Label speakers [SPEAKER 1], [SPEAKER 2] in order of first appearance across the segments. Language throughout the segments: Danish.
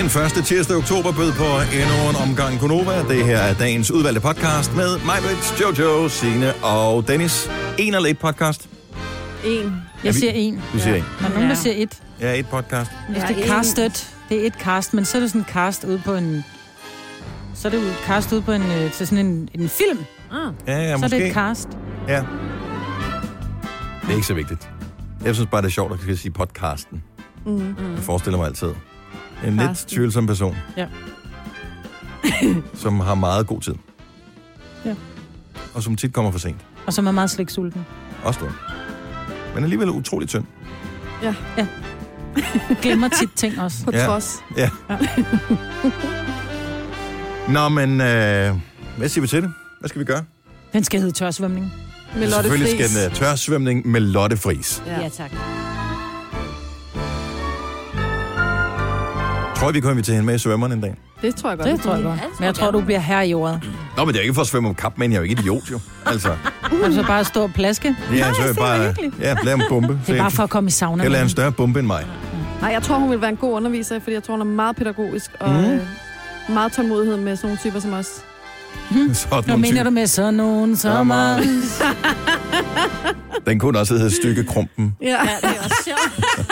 [SPEAKER 1] Den første tirsdag i oktober bød på endnu en omgang Gunova. Det her er dagens udvalgte podcast med mig, Brits, Jojo, Sine og Dennis. En eller et podcast?
[SPEAKER 2] En.
[SPEAKER 1] Er
[SPEAKER 2] Jeg
[SPEAKER 1] vi-
[SPEAKER 2] siger en.
[SPEAKER 1] Du siger en.
[SPEAKER 2] Der er nogen, der
[SPEAKER 3] Ja.
[SPEAKER 2] siger et.
[SPEAKER 1] Ja, et podcast.
[SPEAKER 2] Hvis
[SPEAKER 3] Ja,
[SPEAKER 2] det er
[SPEAKER 3] en.
[SPEAKER 2] castet, det er et cast, men så er det sådan cast ude på en... Så er det jo cast ude på en, øh, til sådan en, en film.
[SPEAKER 3] Ah,
[SPEAKER 1] Ja, ja,
[SPEAKER 2] så er
[SPEAKER 1] måske.
[SPEAKER 2] det et cast.
[SPEAKER 1] Ja. Det er ikke så vigtigt. Jeg synes bare, det er sjovt, at jeg skal sige podcasten. Mm. Jeg forestiller mig altid. En lidt
[SPEAKER 3] Carsten.
[SPEAKER 1] tvivlsom person.
[SPEAKER 2] Ja.
[SPEAKER 1] som har meget god tid.
[SPEAKER 2] Ja.
[SPEAKER 1] Og som tit kommer for sent.
[SPEAKER 2] Og som er meget slik sulten.
[SPEAKER 1] Også det. Men alligevel utrolig tynd.
[SPEAKER 2] Glemmer tit ting også.
[SPEAKER 3] på
[SPEAKER 1] Ja.
[SPEAKER 3] ja. trods.
[SPEAKER 1] Ja. Nå, men øh, hvad siger vi til det? Hvad skal vi gøre?
[SPEAKER 2] Den skal hedde tørsvømning.
[SPEAKER 3] Med Lotte
[SPEAKER 1] Selvfølgelig
[SPEAKER 3] Friis.
[SPEAKER 1] skal den uh, tørsvømning med Lotte Friis.
[SPEAKER 3] Ja. ja.
[SPEAKER 2] tak.
[SPEAKER 1] Tror I, vi kunne invitere hende med i svømmeren en dag?
[SPEAKER 3] Det tror jeg godt.
[SPEAKER 2] Det tror jeg
[SPEAKER 3] vi kan.
[SPEAKER 2] godt. Men jeg tror, du bliver her i ordet.
[SPEAKER 1] Nå, men det er jo ikke for at svømme om kap, men jeg er jo ikke idiot, jo. Altså,
[SPEAKER 3] Uh.
[SPEAKER 2] Altså bare stå og plaske.
[SPEAKER 1] det er, så jeg bare, ja, lad en bombe.
[SPEAKER 2] Det er bare for at komme i sauna.
[SPEAKER 1] Eller en større bombe end mig.
[SPEAKER 3] Nej, jeg tror, hun vil være en god underviser, fordi jeg tror, hun er meget pædagogisk og
[SPEAKER 1] Mm.
[SPEAKER 3] mm. øh, meget tålmodighed med sådan nogle typer som os.
[SPEAKER 1] Sådan
[SPEAKER 2] Hvad
[SPEAKER 1] nogle
[SPEAKER 2] mener
[SPEAKER 1] typer.
[SPEAKER 2] du med sådan nogen som
[SPEAKER 1] Sommer.
[SPEAKER 2] er-
[SPEAKER 1] Den kunne også hedde stykke krumpen.
[SPEAKER 3] Ja.
[SPEAKER 4] Ja, det er også sjovt.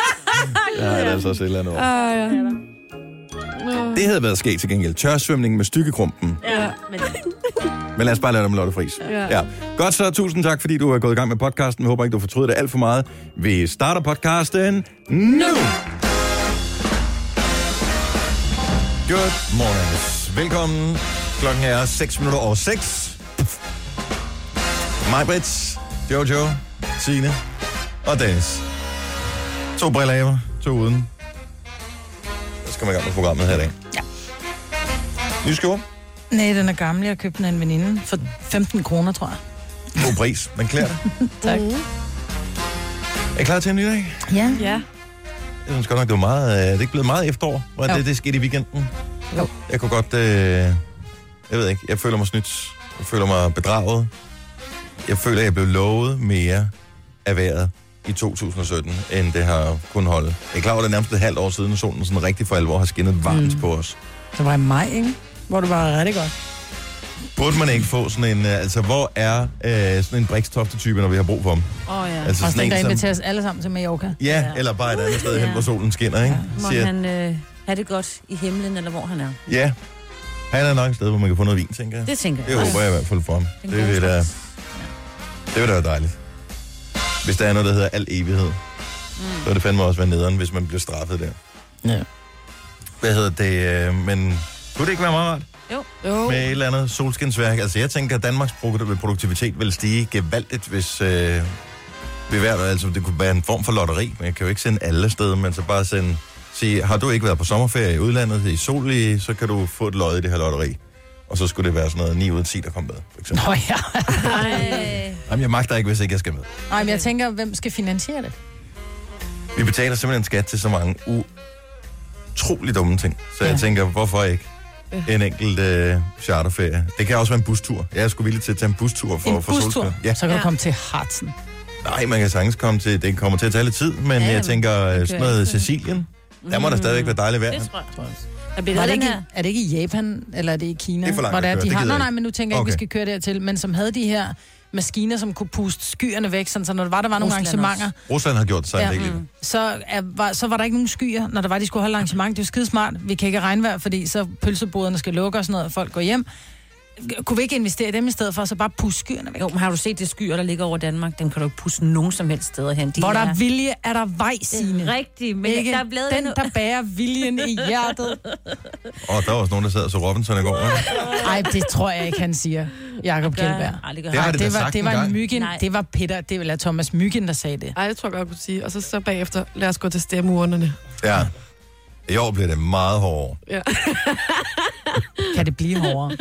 [SPEAKER 1] Ja, det er altså også et eller andet ord.
[SPEAKER 3] Ah, ja.
[SPEAKER 1] Det havde været sket til gengæld. Tørsvømning med stykkekrumpen.
[SPEAKER 4] Ja, men
[SPEAKER 1] Men lad os bare lade dem Lotte Friis.
[SPEAKER 3] Ja.
[SPEAKER 1] Ja. Godt så, tusind tak, fordi du er gået i gang med podcasten. Jeg håber ikke, du fortryder det alt for meget. Vi starter podcasten nu! Good mornings. Velkommen. Klokken er 6 minutter over 6. Mig, Brits, Jojo, Signe og Dennis. To briller af mig, to uden. Så skal man i gang med programmet her i dag.
[SPEAKER 2] Ja.
[SPEAKER 1] Ny skjorte.
[SPEAKER 2] Nej, den er gammel. Jeg købte den af en veninde for 15 kroner, tror jeg.
[SPEAKER 1] God pris. Man klæder det.
[SPEAKER 2] Tak.
[SPEAKER 4] Mm.
[SPEAKER 1] Er I klar til en ny dag?
[SPEAKER 2] Ja.
[SPEAKER 3] ja.
[SPEAKER 1] Jeg synes godt nok, det var meget, øh, det er ikke blevet meget efterår, hvor
[SPEAKER 2] Jo.
[SPEAKER 1] det, det skete i weekenden.
[SPEAKER 2] Jo.
[SPEAKER 1] Jeg kunne godt, øh, jeg ved ikke, jeg føler mig snydt. Jeg føler mig bedraget. Jeg føler, jeg blev lovet mere af vejret i 2017, end det har kunnet holde. Jeg er klar over, det er nærmest et halvt år siden, solen sådan rigtig for alvor har skinnet varmt mm. på os.
[SPEAKER 2] Det var i maj, ikke? Hvor det var rigtig godt.
[SPEAKER 1] Burde man ikke få sådan en, øh, altså hvor er øh, sådan en brikstofte-type, når vi har brug for dem?
[SPEAKER 3] Åh, oh, ja.
[SPEAKER 1] Altså
[SPEAKER 2] Og sådan
[SPEAKER 1] sådan
[SPEAKER 2] en, der
[SPEAKER 1] en, som,
[SPEAKER 2] inviterer os alle sammen til Mallorca.
[SPEAKER 1] ja,
[SPEAKER 4] Ja.
[SPEAKER 1] eller bare et andet sted hen,
[SPEAKER 4] Ja.
[SPEAKER 1] hvor solen skinner, ikke?
[SPEAKER 4] må
[SPEAKER 1] Siger,
[SPEAKER 4] han øh, have det godt i himlen, eller hvor han er.
[SPEAKER 1] ja, han er nok et sted, hvor man kan få noget vin, tænker jeg.
[SPEAKER 4] Det tænker jeg.
[SPEAKER 1] Det håber jeg i hvert fald for ham.
[SPEAKER 4] Den
[SPEAKER 1] Det vil,
[SPEAKER 4] gode
[SPEAKER 1] da,
[SPEAKER 4] slags.
[SPEAKER 1] det vil da være dejligt. Hvis der er noget, der hedder al evighed, mm. så vil det fandme også være nederen, hvis man bliver straffet der.
[SPEAKER 2] Ja.
[SPEAKER 1] Hvad hedder det? øh, Men kunne det ikke være meget rart
[SPEAKER 3] Jo.
[SPEAKER 1] med et eller andet solskinsværk? Altså jeg tænker, at Danmarks produ- produktivitet vil stige gevaldigt, hvis øh, vi hvert altså det kunne være en form for lotteri. Men jeg kan jo ikke sende alle steder, men så bare sende sige, har du ikke været på sommerferie i udlandet i sol, i, så kan du få et lod i det her lotteri. Og så skulle det være sådan noget 9 ud af 10, der kom med, for eksempel.
[SPEAKER 2] Nå ja.
[SPEAKER 4] Ej.
[SPEAKER 1] Jamen, jeg magter ikke, hvis ikke jeg skal med.
[SPEAKER 2] Ej, men jeg tænker, hvem skal finansiere det?
[SPEAKER 1] Vi betaler simpelthen skat til så mange utrolig dumme ting. Så jeg
[SPEAKER 2] Ja.
[SPEAKER 1] tænker, hvorfor ikke
[SPEAKER 3] Ja.
[SPEAKER 1] en enkelt øh, charterferie? Det kan også være en bustur. Jeg er sgu villig til at tage en bustur for,
[SPEAKER 2] en
[SPEAKER 1] for
[SPEAKER 2] bustur,
[SPEAKER 1] solskud. Ja.
[SPEAKER 2] så kan du
[SPEAKER 3] Ja.
[SPEAKER 2] komme til Hartsen.
[SPEAKER 1] Nej, man kan sagtens komme til... Det kommer til at tage lidt tid, men
[SPEAKER 4] Ja,
[SPEAKER 1] jeg
[SPEAKER 4] men
[SPEAKER 1] tænker øh,
[SPEAKER 4] kører
[SPEAKER 1] sådan noget
[SPEAKER 4] ikke til-
[SPEAKER 1] Sicilien. Der
[SPEAKER 2] Mm.
[SPEAKER 1] må der stadigvæk være dejligt vejr.
[SPEAKER 4] Det
[SPEAKER 1] Det
[SPEAKER 4] tror jeg. Der bliver
[SPEAKER 2] Var
[SPEAKER 4] lavet
[SPEAKER 2] det
[SPEAKER 4] den
[SPEAKER 2] ikke,
[SPEAKER 4] her.
[SPEAKER 2] er det ikke i Japan, eller er det i Kina?
[SPEAKER 1] Det er for langt
[SPEAKER 2] hvor
[SPEAKER 1] at
[SPEAKER 2] er,
[SPEAKER 1] køre,
[SPEAKER 2] de
[SPEAKER 1] det
[SPEAKER 2] har,
[SPEAKER 1] gider
[SPEAKER 2] nej,
[SPEAKER 1] jeg
[SPEAKER 2] nej, men nu tænker jeg ikke,
[SPEAKER 1] Okay.
[SPEAKER 2] vi skal køre dertil. Men som havde de her maskiner, som kunne puste skyerne væk, sådan, så når der var, der var nogle
[SPEAKER 4] Rusland
[SPEAKER 2] arrangementer,
[SPEAKER 1] Rusland har gjort sig
[SPEAKER 2] Ja.
[SPEAKER 1] ja. mm.
[SPEAKER 2] så, er, var, så var der ikke nogen skyer, når der var, de skulle holde arrangement. Det er jo skidesmart. Vi kan ikke have regnvejr, fordi så pølseboderne skal lukke og sådan noget, og folk går hjem. Kunne vi ikke investere i dem i stedet for, så bare puste skyerne væk?
[SPEAKER 4] Jo, men har du set det skyer, der ligger over Danmark? Den kan du ikke pusse nogen som helst steder hen. De
[SPEAKER 2] Hvor der
[SPEAKER 4] er
[SPEAKER 2] er vilje, er der vej, Signe.
[SPEAKER 4] Rigtigt, men
[SPEAKER 2] Ikke?
[SPEAKER 4] der er blevet
[SPEAKER 2] Den,
[SPEAKER 4] en-
[SPEAKER 2] der bærer viljen i hjertet.
[SPEAKER 1] Og der var også nogen, der sad og så Robinson i går. ikke?
[SPEAKER 2] Ej, det tror jeg ikke, han siger, Jakob
[SPEAKER 4] Gør-
[SPEAKER 2] Kjeldberg.
[SPEAKER 4] Ej, det gør
[SPEAKER 1] Det har
[SPEAKER 4] han.
[SPEAKER 1] det,
[SPEAKER 2] det,
[SPEAKER 1] da
[SPEAKER 2] var,
[SPEAKER 1] sagt
[SPEAKER 2] det var
[SPEAKER 1] engang.
[SPEAKER 2] en myggen,
[SPEAKER 4] Nej.
[SPEAKER 2] det var Peter, det var Thomas Myggen, der sagde det.
[SPEAKER 3] Ej, det tror jeg godt, jeg kunne sige. Og så, så bagefter, lad os gå til stemmeurnerne.
[SPEAKER 1] Ja. I år bliver det meget hårdere.
[SPEAKER 3] Ja.
[SPEAKER 2] Kan det blive hårdere?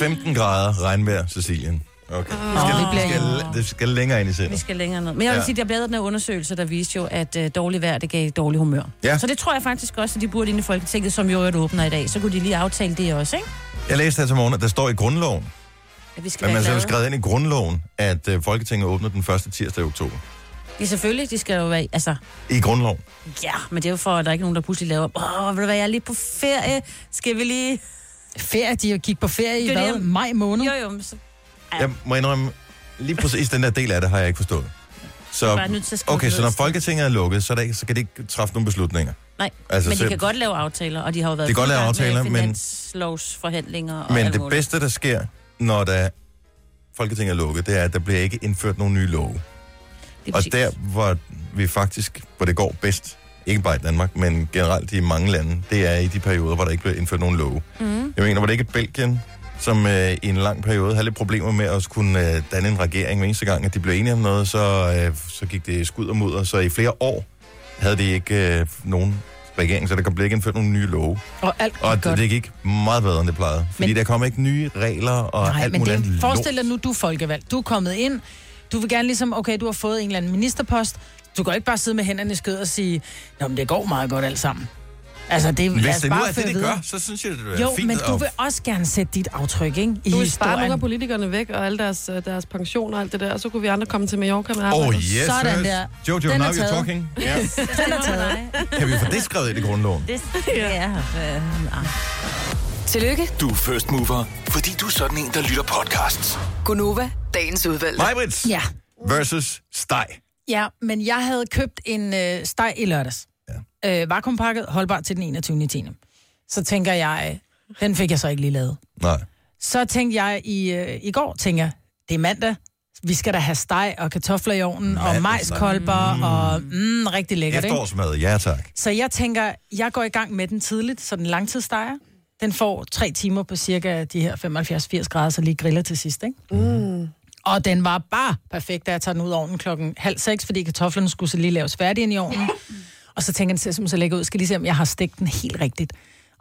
[SPEAKER 1] 15 grader regnvejr, Sicilien. Okay. Det
[SPEAKER 2] Nå,
[SPEAKER 1] skal,
[SPEAKER 2] vi bliver
[SPEAKER 1] det skal, det skal længere ind i
[SPEAKER 4] Vi
[SPEAKER 1] sindet.
[SPEAKER 4] skal længere ned. Men jeg vil
[SPEAKER 1] Ja.
[SPEAKER 4] ja. sige, der blev lavet den her undersøgelse, der viste jo, at øh, dårlig vejr, det gav dårlig humør.
[SPEAKER 1] Ja.
[SPEAKER 4] Så det tror jeg faktisk også, at de burde inde i Folketinget, som jo er åbner i dag. Så kunne de lige aftale det også, ikke?
[SPEAKER 1] Jeg læste her til morgen, at der står i grundloven,
[SPEAKER 4] At vi skal
[SPEAKER 1] Men
[SPEAKER 4] være
[SPEAKER 1] man har
[SPEAKER 4] glade.
[SPEAKER 1] skrevet ind i grundloven, at øh, Folketinget åbner den første tirsdag i oktober.
[SPEAKER 4] Det er selvfølgelig, de skal jo være, altså,
[SPEAKER 1] i grundlov.
[SPEAKER 4] ja, men det er jo for, at der ikke er nogen, der pludselig laver, åh, oh, vil du være, jeg er lige på ferie, skal vi lige...
[SPEAKER 2] Ferie, de gik på ferie i
[SPEAKER 4] Det er det,
[SPEAKER 2] hvad?
[SPEAKER 4] jeg-
[SPEAKER 2] Maj måned?
[SPEAKER 4] Jo, jo, men så Ja.
[SPEAKER 1] Jeg må indrømme, lige præcis den der del af det har jeg ikke forstået.
[SPEAKER 4] er
[SPEAKER 1] Så,
[SPEAKER 4] bare nødt til at skrive
[SPEAKER 1] okay,
[SPEAKER 4] det
[SPEAKER 1] så
[SPEAKER 4] ned
[SPEAKER 1] når
[SPEAKER 4] et sted.
[SPEAKER 1] Folketinget er lukket, så, er der ikke, så kan de ikke træffe nogle beslutninger.
[SPEAKER 4] Nej,
[SPEAKER 1] Altså,
[SPEAKER 4] altså, men de
[SPEAKER 1] selv-
[SPEAKER 4] kan godt lave aftaler, og de har jo været
[SPEAKER 1] De kan godt lave aftaler, men-
[SPEAKER 4] finanslovsforhandlinger og
[SPEAKER 1] Men
[SPEAKER 4] alt
[SPEAKER 1] det
[SPEAKER 4] muligt.
[SPEAKER 1] bedste, der sker, når der Folketinget er lukket, det er, at der bliver ikke indført nogen nye love.
[SPEAKER 4] Det er
[SPEAKER 1] Og
[SPEAKER 4] præcis.
[SPEAKER 1] der, hvor vi faktisk, hvor det går bedst, ikke bare i Danmark, men generelt i mange lande, det er i de perioder, hvor der ikke bliver indført nogen love. Mm. Jeg mener, var det ikke Belgien, som øh, i en lang periode havde lidt problemer med at kunne øh, danne en regering hver eneste gang, at de blev enige om noget, så, øh, så gik det i skud og mudder. Så i flere år havde de ikke øh, nogen regering, så der blev ikke indført nogen nye love.
[SPEAKER 2] Og alt gik
[SPEAKER 1] Og det,
[SPEAKER 2] godt.
[SPEAKER 1] det gik meget bedre, end det plejede. Fordi men,
[SPEAKER 2] Men-
[SPEAKER 1] der kom ikke nye regler og
[SPEAKER 2] Nej,
[SPEAKER 1] alt
[SPEAKER 2] men
[SPEAKER 1] muligt
[SPEAKER 2] det er,
[SPEAKER 1] andet
[SPEAKER 2] forestil dig
[SPEAKER 1] lort.
[SPEAKER 2] nu, du er folkevalgt. Du er kommet ind. Du vil gerne ligesom, okay, du har fået en eller anden ministerpost. Du kan jo ikke bare sidde med hænderne i skød og sige, Nå, men det går meget godt alt sammen. Altså, det er
[SPEAKER 1] Hvis det nu
[SPEAKER 2] bare
[SPEAKER 1] er
[SPEAKER 2] føre
[SPEAKER 1] det, det
[SPEAKER 2] videre.
[SPEAKER 1] gør, så synes jeg, det er
[SPEAKER 2] Jo,
[SPEAKER 1] fint.
[SPEAKER 2] men du
[SPEAKER 1] og
[SPEAKER 2] vil også gerne sætte dit aftryk, ikke? I
[SPEAKER 3] Du vil spare nogle
[SPEAKER 2] historien.
[SPEAKER 3] af politikerne væk, og alle deres, øh, deres pensioner og alt det der, og så kunne vi andre komme til Mallorca med arbejde.
[SPEAKER 1] Oh yes,
[SPEAKER 2] Sådan
[SPEAKER 1] yes.
[SPEAKER 2] der.
[SPEAKER 1] Jojo,
[SPEAKER 2] Den er
[SPEAKER 1] now you're
[SPEAKER 2] taget.
[SPEAKER 1] talking. Ja.
[SPEAKER 4] Den er taget.
[SPEAKER 1] Kan vi få det skrevet ind i grundloven?
[SPEAKER 4] Det ja. ja.
[SPEAKER 5] Tillykke,
[SPEAKER 6] Du er first mover, fordi du er sådan en, der lytter podcasts.
[SPEAKER 5] Gunova, dagens udvalgte.
[SPEAKER 1] Majbrits
[SPEAKER 2] Ja.
[SPEAKER 1] versus steg.
[SPEAKER 2] ja, men jeg havde købt en øh, steg i lørdags. Ja. Øh, vakuumpakket, holdbar til den 21. 10. Så tænker jeg, øh, den fik jeg så ikke lige lavet.
[SPEAKER 1] Nej.
[SPEAKER 2] Så tænkte jeg i, øh, i går, tænker jeg, det er mandag, vi skal da have steg og kartofler i ovnen,
[SPEAKER 1] Mandagssteg.
[SPEAKER 2] og majskolber, mm. og mm, rigtig lækkert, ikke? Mm.
[SPEAKER 1] Efterårsmad, ja tak.
[SPEAKER 2] Så jeg tænker, jeg går i gang med den tidligt, så den langtidssteger. Den får tre timer på cirka de her 75-80 grader, så lige griller til sidst, ikke? Mm. Og den var bare perfekt, da jeg tager den ud af ovnen klokken halv seks, fordi kartoflerne skulle så lige laves færdige ind i ovnen. og så tænker jeg, den ser som så lækker ud. Skal lige se, om jeg har stegt den helt rigtigt.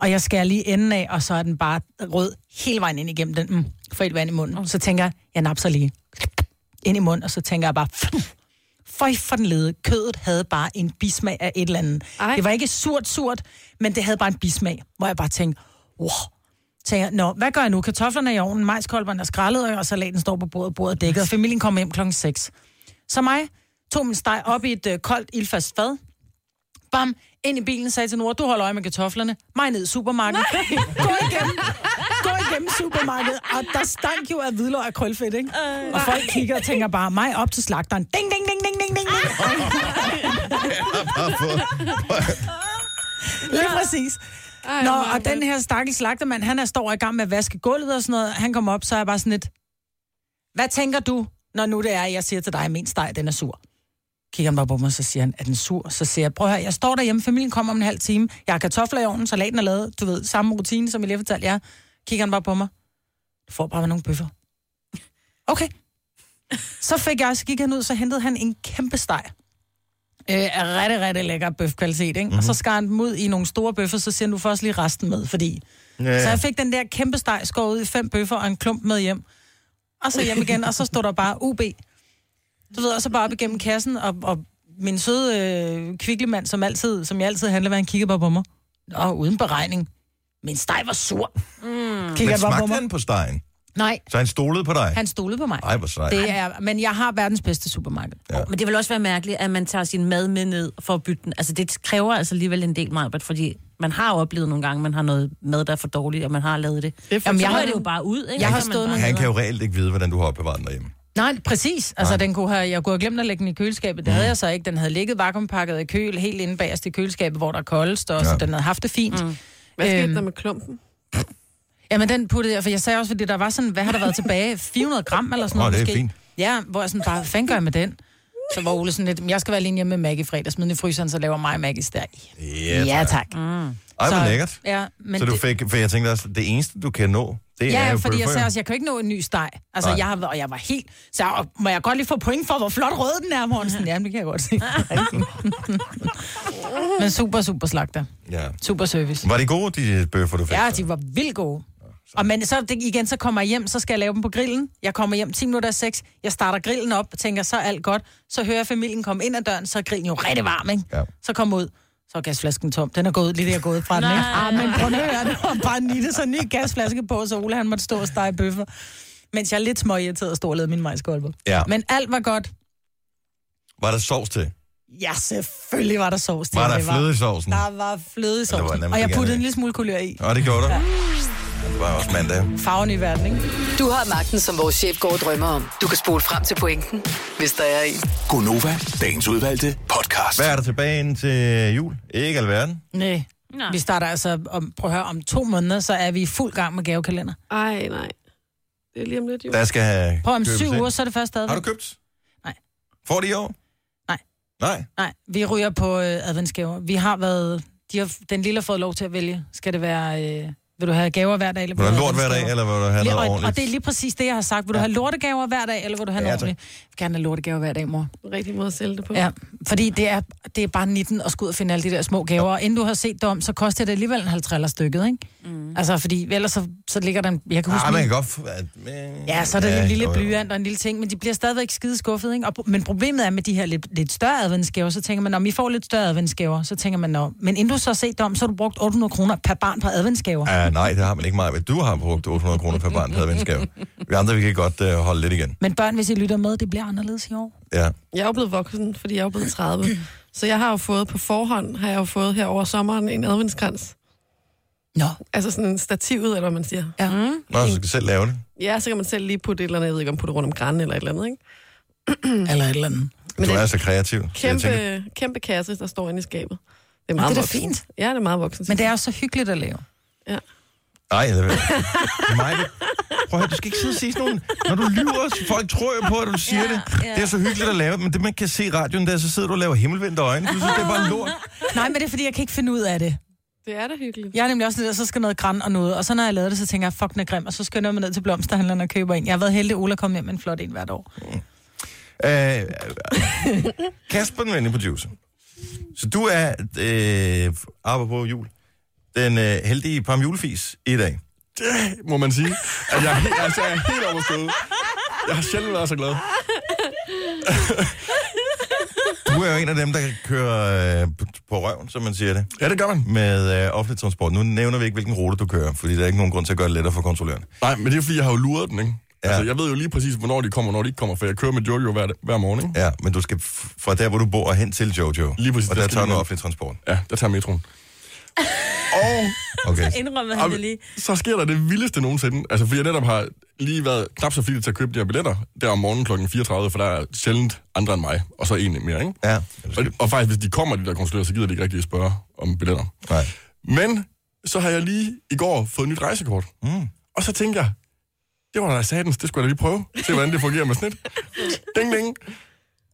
[SPEAKER 2] Og jeg skærer lige enden af, og så er den bare rød hele vejen ind igennem den. Mm, for et vand i munden. Så tænker jeg, jeg napser lige ind i munden, og så tænker jeg bare, Føj for den lede. Kødet havde bare en bismag af et eller andet. Ej.
[SPEAKER 3] Ej.
[SPEAKER 2] Det var ikke surt, surt, men det havde bare en bismag, hvor jeg bare tænkte, wow. Tænker, nå, hvad gør jeg nu? Kartoflerne er i ovnen, majskolberne er skrællet, og salaten står på bordet, bordet er dækket, og familien kommer hjem klokken 6. Så mig tog min steg op i et øh, koldt, ildfast fad. Bam, ind i bilen, sagde til Nora, du holder øje med kartoflerne. Mig ned i supermarkedet. Gå igennem, gå igennem supermarkedet. Og der stank jo af hvidløg og krølfedt, ikke? Øh, og folk kigger og tænker bare, mig op til slagteren. Ding, ding, ding, ding, ding, ding, ding. Lige præcis.
[SPEAKER 3] Ej,
[SPEAKER 2] Nå,
[SPEAKER 3] hvor er
[SPEAKER 2] og den her stakkels slagtermand, han er står i gang med at vaske gulvet og sådan noget. Han kommer op, så er jeg bare sådan lidt, hvad tænker du, når nu det er, jeg siger til dig, at min steg, den er sur? Kigger han bare på mig, så siger han, er den sur? Så siger jeg, prøv at høre, jeg står derhjemme, familien kommer om en halv time, jeg har kartofler i ovnen, salaten er lavet, du ved, samme rutine, som jeg lige fortalte jer. Kigger han bare på mig, du får bare nogle bøffer. Okay. Så fik jeg, så gik han ud, så hentede han en kæmpe steg. Øh, af rigtig, rigtig lækker bøfkvalitet, ikke? Mm-hmm.
[SPEAKER 1] Mhm.
[SPEAKER 2] Og så skar han dem ud i nogle store bøffer, så siger han, du får også lige resten med, fordi...
[SPEAKER 1] Ja.
[SPEAKER 2] Så jeg fik den der kæmpe steg skåret ud i fem bøffer og en klump med hjem. Og så hjem igen, og så stod der bare UB. Du ved, og så bare op igennem kassen, og, og min søde øh, kviklemand, som, altid, som jeg altid handler med, han kiggede bare på mig. Og uden beregning. Min steg var sur. Mm. Kigger
[SPEAKER 1] Men
[SPEAKER 2] bare på
[SPEAKER 1] smagte
[SPEAKER 2] mig.
[SPEAKER 1] han på stegen?
[SPEAKER 2] Nej,
[SPEAKER 1] Så han stolede på dig?
[SPEAKER 2] han stolede på mig.
[SPEAKER 1] Ej, hvor sejt.
[SPEAKER 2] Det er, men jeg har verdens bedste supermarked.
[SPEAKER 1] Ja.
[SPEAKER 4] Men det vil også være mærkeligt, at man tager sin mad med ned for at bytte den. Altså, det kræver altså alligevel en del meget, fordi man har jo oplevet nogle gange, at man har noget mad, der er for dårligt, og man har lavet det.
[SPEAKER 3] Det er for
[SPEAKER 4] Jamen, jeg
[SPEAKER 2] eksempel-
[SPEAKER 4] har det jo bare ud, ikke?
[SPEAKER 2] Jeg har
[SPEAKER 4] Så man
[SPEAKER 2] stået
[SPEAKER 4] bare-
[SPEAKER 2] nogle-
[SPEAKER 1] Han kan jo reelt ikke vide, hvordan du har opbevaret den derhjemme.
[SPEAKER 2] Nej, præcis. Altså, den kunne have, jeg kunne have glemt at lægge den i køleskabet.
[SPEAKER 1] Mm.
[SPEAKER 2] Det havde jeg så ikke. Den havde ligget vakuumpakket i køl, helt inde bagerst i køleskabet, hvor der er koldest, og ja. så
[SPEAKER 1] Ja.
[SPEAKER 2] den havde haft det fint. Mm.
[SPEAKER 3] Hvad skete
[SPEAKER 2] Øhm.
[SPEAKER 3] der med klumpen?
[SPEAKER 2] Jamen, den puttede jeg, for jeg sagde også, fordi der var sådan, hvad har der været tilbage? 400 gram eller sådan
[SPEAKER 1] Åh,
[SPEAKER 2] noget
[SPEAKER 1] det er
[SPEAKER 2] måske?
[SPEAKER 1] fint.
[SPEAKER 2] Ja, hvor jeg sådan bare, hvad fanden gør jeg med den? Så var Ole sådan lidt, "Men jeg skal være alene hjemme med Maggie i fredag, smid den i fryseren, så laver mig Maggie stærk.
[SPEAKER 1] Ja,
[SPEAKER 2] Ja, tak.
[SPEAKER 1] Ej, hvor
[SPEAKER 2] Så-
[SPEAKER 1] lækkert.
[SPEAKER 2] Ja, men
[SPEAKER 1] Så du
[SPEAKER 2] det-
[SPEAKER 1] fik, for jeg tænkte også, det eneste, du kan nå, det
[SPEAKER 2] Ja,
[SPEAKER 1] er
[SPEAKER 2] ja,
[SPEAKER 1] jo
[SPEAKER 2] fordi jeg
[SPEAKER 1] bøffer.
[SPEAKER 2] sagde også, jeg kan jo ikke nå en ny steg. Altså,
[SPEAKER 1] Nej.
[SPEAKER 2] jeg har, og jeg var helt... Så jeg, og må jeg godt lige få point for, hvor flot rød den er, Mortensen? Ja, men det kan jeg godt se. men super, super slagter.
[SPEAKER 1] ja.
[SPEAKER 2] Super service.
[SPEAKER 1] Var det gode, de bøffer, du fik?
[SPEAKER 2] Ja,
[SPEAKER 1] så?
[SPEAKER 2] de var vildt gode. Og men så det, igen, så kommer jeg hjem, så skal jeg lave dem på grillen. Jeg kommer hjem 10 minutter af 6, jeg starter grillen op, tænker, så er alt godt. Så hører jeg familien komme ind ad døren, så er grillen jo rigtig varm, ikke?
[SPEAKER 1] Ja.
[SPEAKER 2] Så kommer ud, så er gasflasken tom. Den er gået lige der er gået fra den, ikke? Ah, men prøv nu at høre, det var bare en lille så en ny gasflaske på, så Ole han måtte stå og stege bøffer. Mens jeg er lidt småirriteret og stod og lavede min majskolber.
[SPEAKER 1] Ja.
[SPEAKER 2] Men alt var godt.
[SPEAKER 1] Var der sovs til?
[SPEAKER 2] Ja, selvfølgelig var der sovs til.
[SPEAKER 1] Var der
[SPEAKER 2] det
[SPEAKER 1] fløde i sovsen?
[SPEAKER 2] Der var fløde i
[SPEAKER 1] var
[SPEAKER 2] sovsen.
[SPEAKER 1] nærmest
[SPEAKER 2] Og jeg
[SPEAKER 1] ikke
[SPEAKER 2] puttede
[SPEAKER 1] andet.
[SPEAKER 2] en lille smule kulør i.
[SPEAKER 1] Nå, det gjorde du. Ja. Det var også mandag.
[SPEAKER 2] Farven i verden, ikke?
[SPEAKER 5] Du har magten, som vores chef går og drømmer om. Du kan spole frem til pointen, hvis der er en.
[SPEAKER 6] Gonova, dagens udvalgte podcast.
[SPEAKER 1] Hvad er der tilbage ind til jul? Ikke alverden.
[SPEAKER 2] Nej.
[SPEAKER 4] Nej.
[SPEAKER 2] Vi starter altså, om, prøv at høre, om to måneder, så er vi i fuld gang med gavekalender.
[SPEAKER 3] Ej, nej. Det er lige om lidt, jo.
[SPEAKER 1] Der skal have
[SPEAKER 2] Prøv om
[SPEAKER 1] købes
[SPEAKER 2] syv
[SPEAKER 1] ind.
[SPEAKER 2] uger, så er det første
[SPEAKER 1] Har du
[SPEAKER 2] advent.
[SPEAKER 1] købt?
[SPEAKER 2] Nej.
[SPEAKER 1] Får de i år?
[SPEAKER 2] Nej.
[SPEAKER 1] Nej?
[SPEAKER 2] Nej, vi ryger på øh, adventsgaver. Vi har været, de har, den lille har fået lov til at vælge. Skal det være, øh, vil du have gaver hver dag? Eller
[SPEAKER 1] Vil du
[SPEAKER 2] vil
[SPEAKER 1] have
[SPEAKER 2] du
[SPEAKER 1] lort hver dag,
[SPEAKER 2] adventsgaver?
[SPEAKER 1] eller vil du have noget
[SPEAKER 2] Lige- og,
[SPEAKER 1] ordentligt?
[SPEAKER 2] og det er lige præcis det, jeg har sagt. Vil du have lortegaver hver dag, eller vil du have
[SPEAKER 1] Ja,
[SPEAKER 2] ja,
[SPEAKER 1] tak.
[SPEAKER 2] ordentligt? Jeg vil gerne have lortegaver hver dag, mor.
[SPEAKER 3] Den rigtige måde at sælge det på.
[SPEAKER 2] Ja, fordi det er, det er bare 19 at skulle ud og finde alle de der små gaver. Og inden du har set dem, så koster det alligevel en 50 stykket, ikke? Mm. Altså, fordi ellers så, så ligger der en... Jeg kan huske,
[SPEAKER 1] Ah, man
[SPEAKER 2] min-
[SPEAKER 1] kan godt... f- At, men...
[SPEAKER 2] Ja, så er der ja, en lille
[SPEAKER 1] jo, jo.
[SPEAKER 2] blyant og en lille ting, men de bliver stadigvæk skide skuffet, ikke? Og, pro- men problemet er med de her lidt, lidt større adventsgaver, så tænker man, om I får lidt større adventsgaver, så tænker man, Nå. men inden du så har set dem, så har du brugt 800 kroner per barn på adventsgaver. Ja.
[SPEAKER 1] Ja, nej, det har man ikke meget. ved. Du har brugt 800 kroner per barn, havde venskab. Vi andre, vi kan godt øh, holde lidt igen.
[SPEAKER 2] Men børn, hvis I lytter med, det bliver anderledes i år.
[SPEAKER 1] Ja.
[SPEAKER 3] Jeg er jo blevet voksen, fordi jeg er jo blevet 30. Så jeg har jo fået på forhånd, har jeg jo fået her over sommeren en adventskrans.
[SPEAKER 2] Nå,
[SPEAKER 3] Altså sådan en stativet, eller hvad man siger.
[SPEAKER 2] ja. Mm.
[SPEAKER 1] Nå, så skal du selv lave det.
[SPEAKER 3] Ja, så kan man selv lige putte et eller andet, jeg ved ikke om putte rundt om grænnen eller et eller andet, ikke?
[SPEAKER 2] eller et eller andet.
[SPEAKER 3] Men
[SPEAKER 1] Du
[SPEAKER 3] det
[SPEAKER 1] er
[SPEAKER 3] er
[SPEAKER 1] så kreativ. så jeg
[SPEAKER 3] kæmpe,
[SPEAKER 1] tænker-
[SPEAKER 3] kæmpe kasse, der står inde i skabet. Det er
[SPEAKER 2] Og
[SPEAKER 3] meget
[SPEAKER 2] Ah, det er da
[SPEAKER 3] voksen.
[SPEAKER 2] fint.
[SPEAKER 3] Ja, det er meget voksen.
[SPEAKER 2] Men det er også så hyggeligt at lave.
[SPEAKER 1] Nej, det er det er mig. det- Prøv at høre, du skal ikke sidde og sige sådan nogle... Når du lyver, så folk tror jo på, at du siger det. Det er så hyggeligt at lave, men det man kan se i radioen der, så sidder du og laver himmelvendte øjne. Du synes, det er bare lort.
[SPEAKER 2] Nej, men det er fordi, jeg kan ikke finde ud af det.
[SPEAKER 3] det er da hyggeligt.
[SPEAKER 2] Jeg er nemlig også lidt, der, så skal noget græn og noget. Og så når jeg lavede det, så tænker jeg, fuck, den er grim. Og så skal jeg ned til blomsterhandleren og køber en. Jeg har været heldig, at Ola kom hjem med en flot en hvert år.
[SPEAKER 1] Øh, Kasper, den venlige producer. Så du er, øh, apropos jul, den øh, heldige pam julefis i dag. Det må man sige, at jeg, he- altså, jeg er helt overstået. Jeg har sjældent været så glad. Du er jo en af dem, der kører øh, på røven, som man siger det. Ja, det gør man. Med øh, offentlig transport. Nu nævner vi ikke, hvilken rute du kører, fordi der er ikke nogen grund til at gøre det lettere for kontrolløren.
[SPEAKER 7] Nej, men det er fordi, jeg har jo luret den, ikke?
[SPEAKER 1] Ja.
[SPEAKER 7] Ja. Altså, jeg ved jo lige præcis, hvornår de kommer, og hvornår de ikke kommer, for jeg kører med Jojo hver, hver morgen, ikke?
[SPEAKER 1] Ja, men du skal f- fra der, hvor du bor, og hen til Jojo.
[SPEAKER 7] Lige præcis,
[SPEAKER 1] Og
[SPEAKER 7] der
[SPEAKER 1] der
[SPEAKER 7] skal
[SPEAKER 1] tager
[SPEAKER 7] du
[SPEAKER 1] du
[SPEAKER 7] ned.
[SPEAKER 1] offentlig transport.
[SPEAKER 7] Ja, der tager metroen.
[SPEAKER 1] Okay.
[SPEAKER 4] Indrømmer
[SPEAKER 7] Og
[SPEAKER 4] han det lige.
[SPEAKER 7] så sker der det vildeste nogensinde. Altså, fordi jeg netop har lige været knap så flittig til at købe de her billetter, der om morgenen kl. 34, for der er sjældent andre end mig, og så en mere, ikke?
[SPEAKER 1] Ja.
[SPEAKER 7] Og, og faktisk, hvis de kommer, de der konsulenter, så gider de ikke rigtig at spørge om billetter.
[SPEAKER 1] Nej.
[SPEAKER 7] Men så har jeg lige i går fået nyt rejsekort.
[SPEAKER 1] Mm.
[SPEAKER 7] Og så tænker jeg, det var da satans, det skulle jeg da lige prøve. Se, hvordan det fungerer med snit. Ding, ding.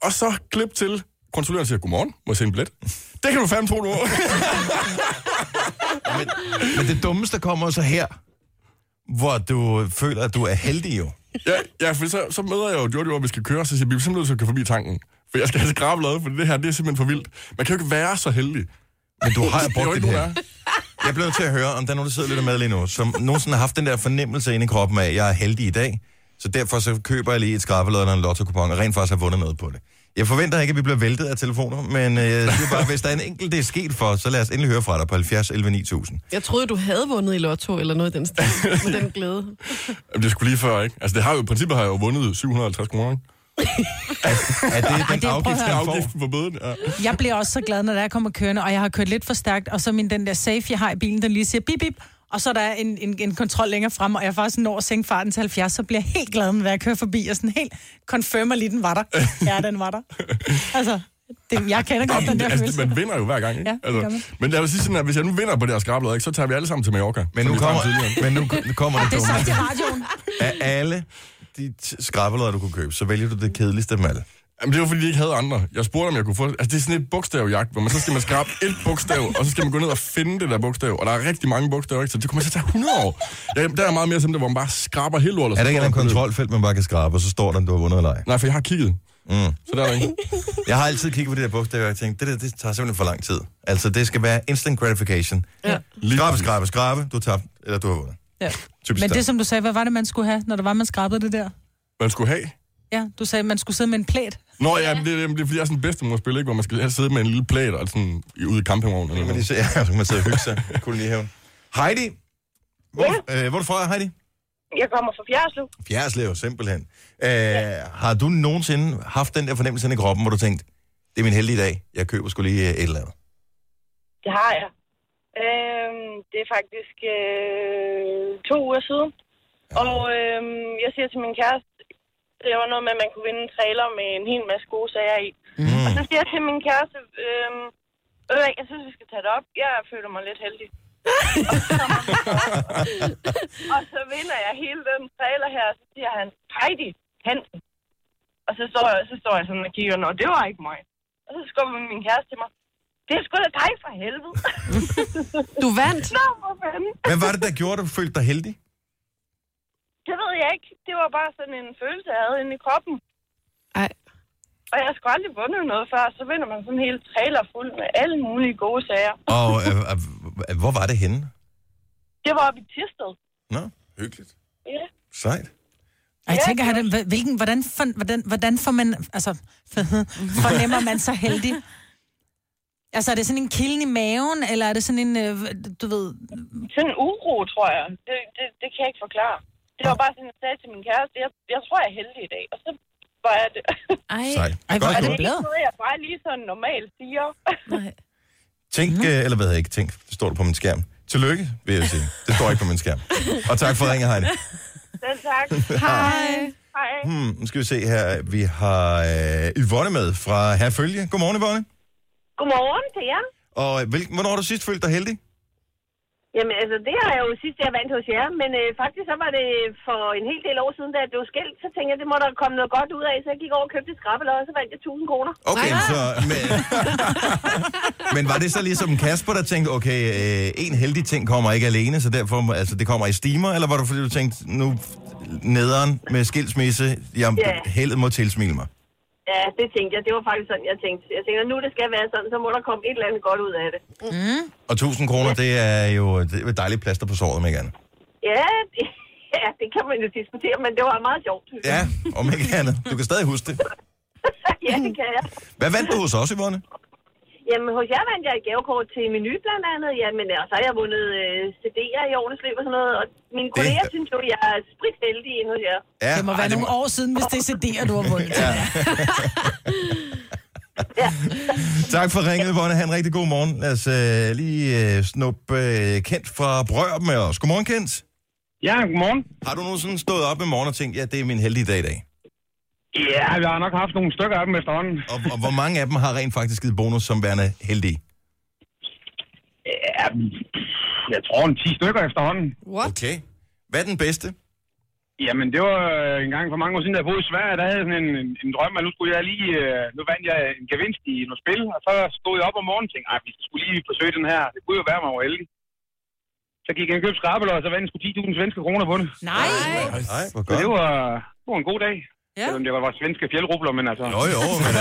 [SPEAKER 7] Og så klip til. Kontrolløren siger, godmorgen, må jeg se en billet? Det kan du fandme tro, du er.
[SPEAKER 1] Men, men det dummeste kommer så her, hvor du føler, at du er heldig jo.
[SPEAKER 7] ja, ja, for så, så møder jeg jo Jojo, og vi skal køre, så siger jeg, vi er simpelthen nødt til at køre forbi tanken. For jeg skal have skrabelade, for det her, det er simpelthen for vildt. Man kan jo ikke være så heldig.
[SPEAKER 1] Men du har jo
[SPEAKER 7] Det er jo
[SPEAKER 1] brugt det
[SPEAKER 7] ikke nogen, der
[SPEAKER 1] her.
[SPEAKER 7] er.
[SPEAKER 1] Jeg bliver nødt til at høre, om der er nogen, der sidder lidt med lige nu, som nogensinde har haft den der fornemmelse inde i kroppen af, at jeg er heldig i dag, så derfor så køber jeg lige et skrabelod eller en lotto-kupon, og rent faktisk har vundet noget på det. Jeg forventer ikke, at vi bliver væltet af telefoner, men øh, jeg siger bare, hvis der er en enkelt, det er sket for, så lad os endelig høre fra dig på 70 11 9000.
[SPEAKER 3] Jeg troede, du havde vundet i lotto eller noget i den stil. med den glæde.
[SPEAKER 7] Jamen, det skulle lige før, ikke? Altså, det har jo, i princippet har jeg jo vundet 750 kroner, ikke?
[SPEAKER 1] Er det den
[SPEAKER 2] det er- prøv
[SPEAKER 1] afgift,
[SPEAKER 2] at
[SPEAKER 7] Det er
[SPEAKER 1] den får?
[SPEAKER 7] afgiften på bøden, ja.
[SPEAKER 2] Jeg bliver også så glad, når der kommer kørende, og jeg har kørt lidt for stærkt, og så min den der safe, jeg har i bilen, den lige siger bip, bip, og så er der en, en, en kontrol længere frem, og jeg faktisk når at sænke farten til 70, så bliver jeg helt glad, når jeg kører forbi, og sådan helt confirmer lige, den var der. Ja, den var der. Altså, det, jeg kender godt den der
[SPEAKER 7] Altså,
[SPEAKER 2] følelse.
[SPEAKER 7] man vinder jo hver gang, ikke?
[SPEAKER 2] Ja, det gør man.
[SPEAKER 7] altså, men lad os sige sådan, at hvis jeg nu vinder på det her skrablad, ikke, så tager vi alle sammen til Mallorca.
[SPEAKER 1] Men
[SPEAKER 7] som
[SPEAKER 1] nu
[SPEAKER 7] vi tager
[SPEAKER 1] kommer,
[SPEAKER 7] tidligere.
[SPEAKER 1] men nu kommer det
[SPEAKER 2] Det er
[SPEAKER 1] dumme.
[SPEAKER 2] sagt i radioen.
[SPEAKER 1] Af alle de t- skrabelodder, du kunne købe, så vælger du det kedeligste af dem alle.
[SPEAKER 7] Jamen, det var fordi, de ikke havde andre. Jeg spurgte, om jeg kunne få... Altså, det er sådan et bogstavjagt, hvor man så skal man skrabe et bogstav, og så skal man gå ned og finde det der bogstav. Og der er rigtig mange bogstaver, ikke? Så det kommer til at tage 100 år. Jeg, der er meget mere som det, hvor man bare skraber hele lortet.
[SPEAKER 1] Er
[SPEAKER 7] så
[SPEAKER 1] der ikke
[SPEAKER 7] står
[SPEAKER 1] en
[SPEAKER 7] på det.
[SPEAKER 1] kontrolfelt, man bare kan skrabe, og så står der, om du har vundet eller ej?
[SPEAKER 7] Nej, for jeg har kigget. Mm. Så der er der ikke.
[SPEAKER 1] Jeg har altid kigget på det der bogstaver, og jeg tænkte, det der, det tager simpelthen for lang tid. Altså, det skal være instant gratification.
[SPEAKER 3] Ja.
[SPEAKER 1] Skrabe, skrabe, skrabe, du har tabt, eller du har vundet.
[SPEAKER 2] Ja.
[SPEAKER 1] Typisk
[SPEAKER 2] Men
[SPEAKER 1] dig.
[SPEAKER 2] det, som du sagde, hvad var det, man skulle have, når der var, man skrabede det der?
[SPEAKER 7] Man skulle have.
[SPEAKER 2] Ja, du sagde, man skulle sidde med en plæt.
[SPEAKER 7] Nå, ja, men det, det, det, er fordi, jeg er sådan bedste, man spille, ikke? Hvor man skal helst sidde med en lille plæt og sådan i- ude i campingvognen. Eller
[SPEAKER 1] Men
[SPEAKER 7] noget.
[SPEAKER 1] de siger, ja, så kan man sidde og hygge sig. Kunne lige have. Heidi! Hvor, øh, hvor er du fra, Heidi?
[SPEAKER 8] Jeg kommer fra Fjerdslev.
[SPEAKER 1] Fjerdslev, simpelthen. Øh, Har du nogensinde haft den der fornemmelse inde i kroppen, hvor du tænkte, det er min heldige dag. Jeg køber sgu lige øh, et eller andet.
[SPEAKER 8] Det har jeg. Øhm, det er faktisk øh, to uger siden. Og øhm, jeg siger til min kæreste, det var noget med, at man kunne vinde en trailer med en hel masse gode sager i. Mm. Og så siger jeg til min kæreste, øhm, ved du hvad, jeg synes, vi skal tage det op. Jeg føler mig lidt heldig. og så vinder jeg hele den trailer her, og så siger han, Heidi Hansen. Og så står, jeg, så står jeg sådan og kigger, nå, det var ikke mig. Og så skubber min kæreste til mig, det er sgu da dig for helvede.
[SPEAKER 3] Du vandt.
[SPEAKER 8] Nå, hvor fanden.
[SPEAKER 1] Hvad var det, der gjorde, at du følte dig heldig?
[SPEAKER 8] Det ved jeg ikke. Det var bare sådan en følelse, jeg havde inde i kroppen.
[SPEAKER 3] Ej,
[SPEAKER 8] Og jeg skulle aldrig vundet noget før, så vinder man sådan en hel trailer fuld med alle mulige gode sager.
[SPEAKER 1] Og øh, øh, øh, hvor var det henne?
[SPEAKER 8] Det var oppe i Tisted.
[SPEAKER 1] Nå,
[SPEAKER 7] Hyggeligt.
[SPEAKER 8] Ja.
[SPEAKER 1] sejt.
[SPEAKER 2] Og jeg
[SPEAKER 8] Ja,
[SPEAKER 2] tænker,
[SPEAKER 8] det
[SPEAKER 2] han, hvil- hvilken, hvordan, for, hvordan, hvordan får man, altså, fornemmer man sig heldig? Altså, er det sådan en kilden i maven, eller er det sådan en, øh, du ved...
[SPEAKER 8] Sådan en uro, tror jeg. Det, det, det kan jeg ikke forklare. Det var bare sådan, jeg sagde til min kæreste, jeg, jeg tror, jeg er heldig i dag. Og så var jeg det.
[SPEAKER 4] Ej,
[SPEAKER 1] Sejt.
[SPEAKER 2] Ej, hvor
[SPEAKER 1] Godt
[SPEAKER 2] er
[SPEAKER 8] Det
[SPEAKER 2] det
[SPEAKER 8] er
[SPEAKER 1] gået.
[SPEAKER 2] blad?
[SPEAKER 8] ikke noget, jeg bare lige sådan normalt siger.
[SPEAKER 4] nej.
[SPEAKER 1] Tænk, øh, eller hvad hedder ikke, tænk, det står der på min skærm. Tillykke, vil jeg sige. Det står ikke på min skærm. Og tak for ringen, Heidi.
[SPEAKER 8] Selv tak.
[SPEAKER 3] hej.
[SPEAKER 8] Hej.
[SPEAKER 1] Hmm, nu skal vi se her. Vi har øh, Yvonne med fra Herfølge. Godmorgen, Yvonne.
[SPEAKER 8] Godmorgen til jer.
[SPEAKER 1] Og øh, hvilken, hvornår har du sidst følt dig heldig?
[SPEAKER 8] Jamen, altså, det har jeg jo sidst, jeg vandt hos jer, men øh, faktisk så var det for en hel del år siden, da jeg blev skilt, så tænkte jeg, det må der komme noget godt ud af, så jeg gik over og købte et skrabbelod, og så vandt jeg 1000 kroner.
[SPEAKER 1] Okay, så... Men, men var det så ligesom Kasper, der tænkte, okay, øh, en heldig ting kommer ikke alene, så derfor, må- altså, det kommer i stimer, eller var det fordi, du tænkte, nu nederen med skilsmisse, jeg
[SPEAKER 8] Ja.
[SPEAKER 1] heldet må tilsmile mig?
[SPEAKER 8] Ja, det tænkte jeg. Det var faktisk sådan, jeg tænkte. Jeg tænkte, nu det skal være sådan, så må der komme et eller andet godt ud af det.
[SPEAKER 1] Og 1000 kroner, det er jo det er et dejligt plaster på såret, med gerne.
[SPEAKER 8] Ja, det, ja, det kan man jo diskutere, men det var meget sjovt. synes jeg.
[SPEAKER 1] Ja, om ikke andet. Du kan stadig huske det.
[SPEAKER 8] ja, det kan jeg.
[SPEAKER 1] Hvad vandt du hos os, Yvonne?
[SPEAKER 8] Jamen, hos jer vandt jeg et gavekort til menu blandt andet. Jamen, og så har jeg vundet øh, CD'er i årenes løb og sådan noget. Og mine kolleger
[SPEAKER 1] Det-
[SPEAKER 8] synes jo, jeg er spritheldig inde hos jer.
[SPEAKER 1] Ja,
[SPEAKER 2] Det må
[SPEAKER 1] ej,
[SPEAKER 2] være nogle år siden, hvis det er CD'er, du har vundet. Ja.
[SPEAKER 1] Tak for ringet, Yvonne. Ha' en rigtig god morgen. Lad os øh, lige øh, snuppe øh, Kent fra Brør med os. Godmorgen, Kent.
[SPEAKER 9] Ja, godmorgen.
[SPEAKER 1] Har du nogensinde stået op i morgen og tænkt, ja, det er min heldige dag i dag?
[SPEAKER 9] Ja, vi har nok haft nogle stykker af dem efterhånden.
[SPEAKER 1] Og, og hvor mange af dem har rent faktisk givet bonus som værende heldige?
[SPEAKER 9] Ja, jeg tror en 10 stykker efterhånden.
[SPEAKER 3] What?
[SPEAKER 1] Okay. Hvad er den bedste?
[SPEAKER 9] Jamen, det var øh, en gang for mange år siden, da jeg boede i Sverige, der havde jeg sådan en, en, en drøm, at nu skulle jeg lige, øh, nu vandt jeg en gevinst i nogle spil, og så stod jeg op om morgenen og tænkte, "Ej, vi skulle lige forsøge den her, det kunne jo være mig over heldig. Så gik jeg ind og købte skrabel, og så vandt jeg sgu 10.000 svenske kroner på det.
[SPEAKER 2] Nej,
[SPEAKER 1] Nej, hvor
[SPEAKER 9] Så
[SPEAKER 1] godt.
[SPEAKER 9] det var, det var en god dag.
[SPEAKER 2] Ja.
[SPEAKER 9] Ja. Selvom det var, var svenske fjeldrubler, men altså...
[SPEAKER 1] Jo, jo, men...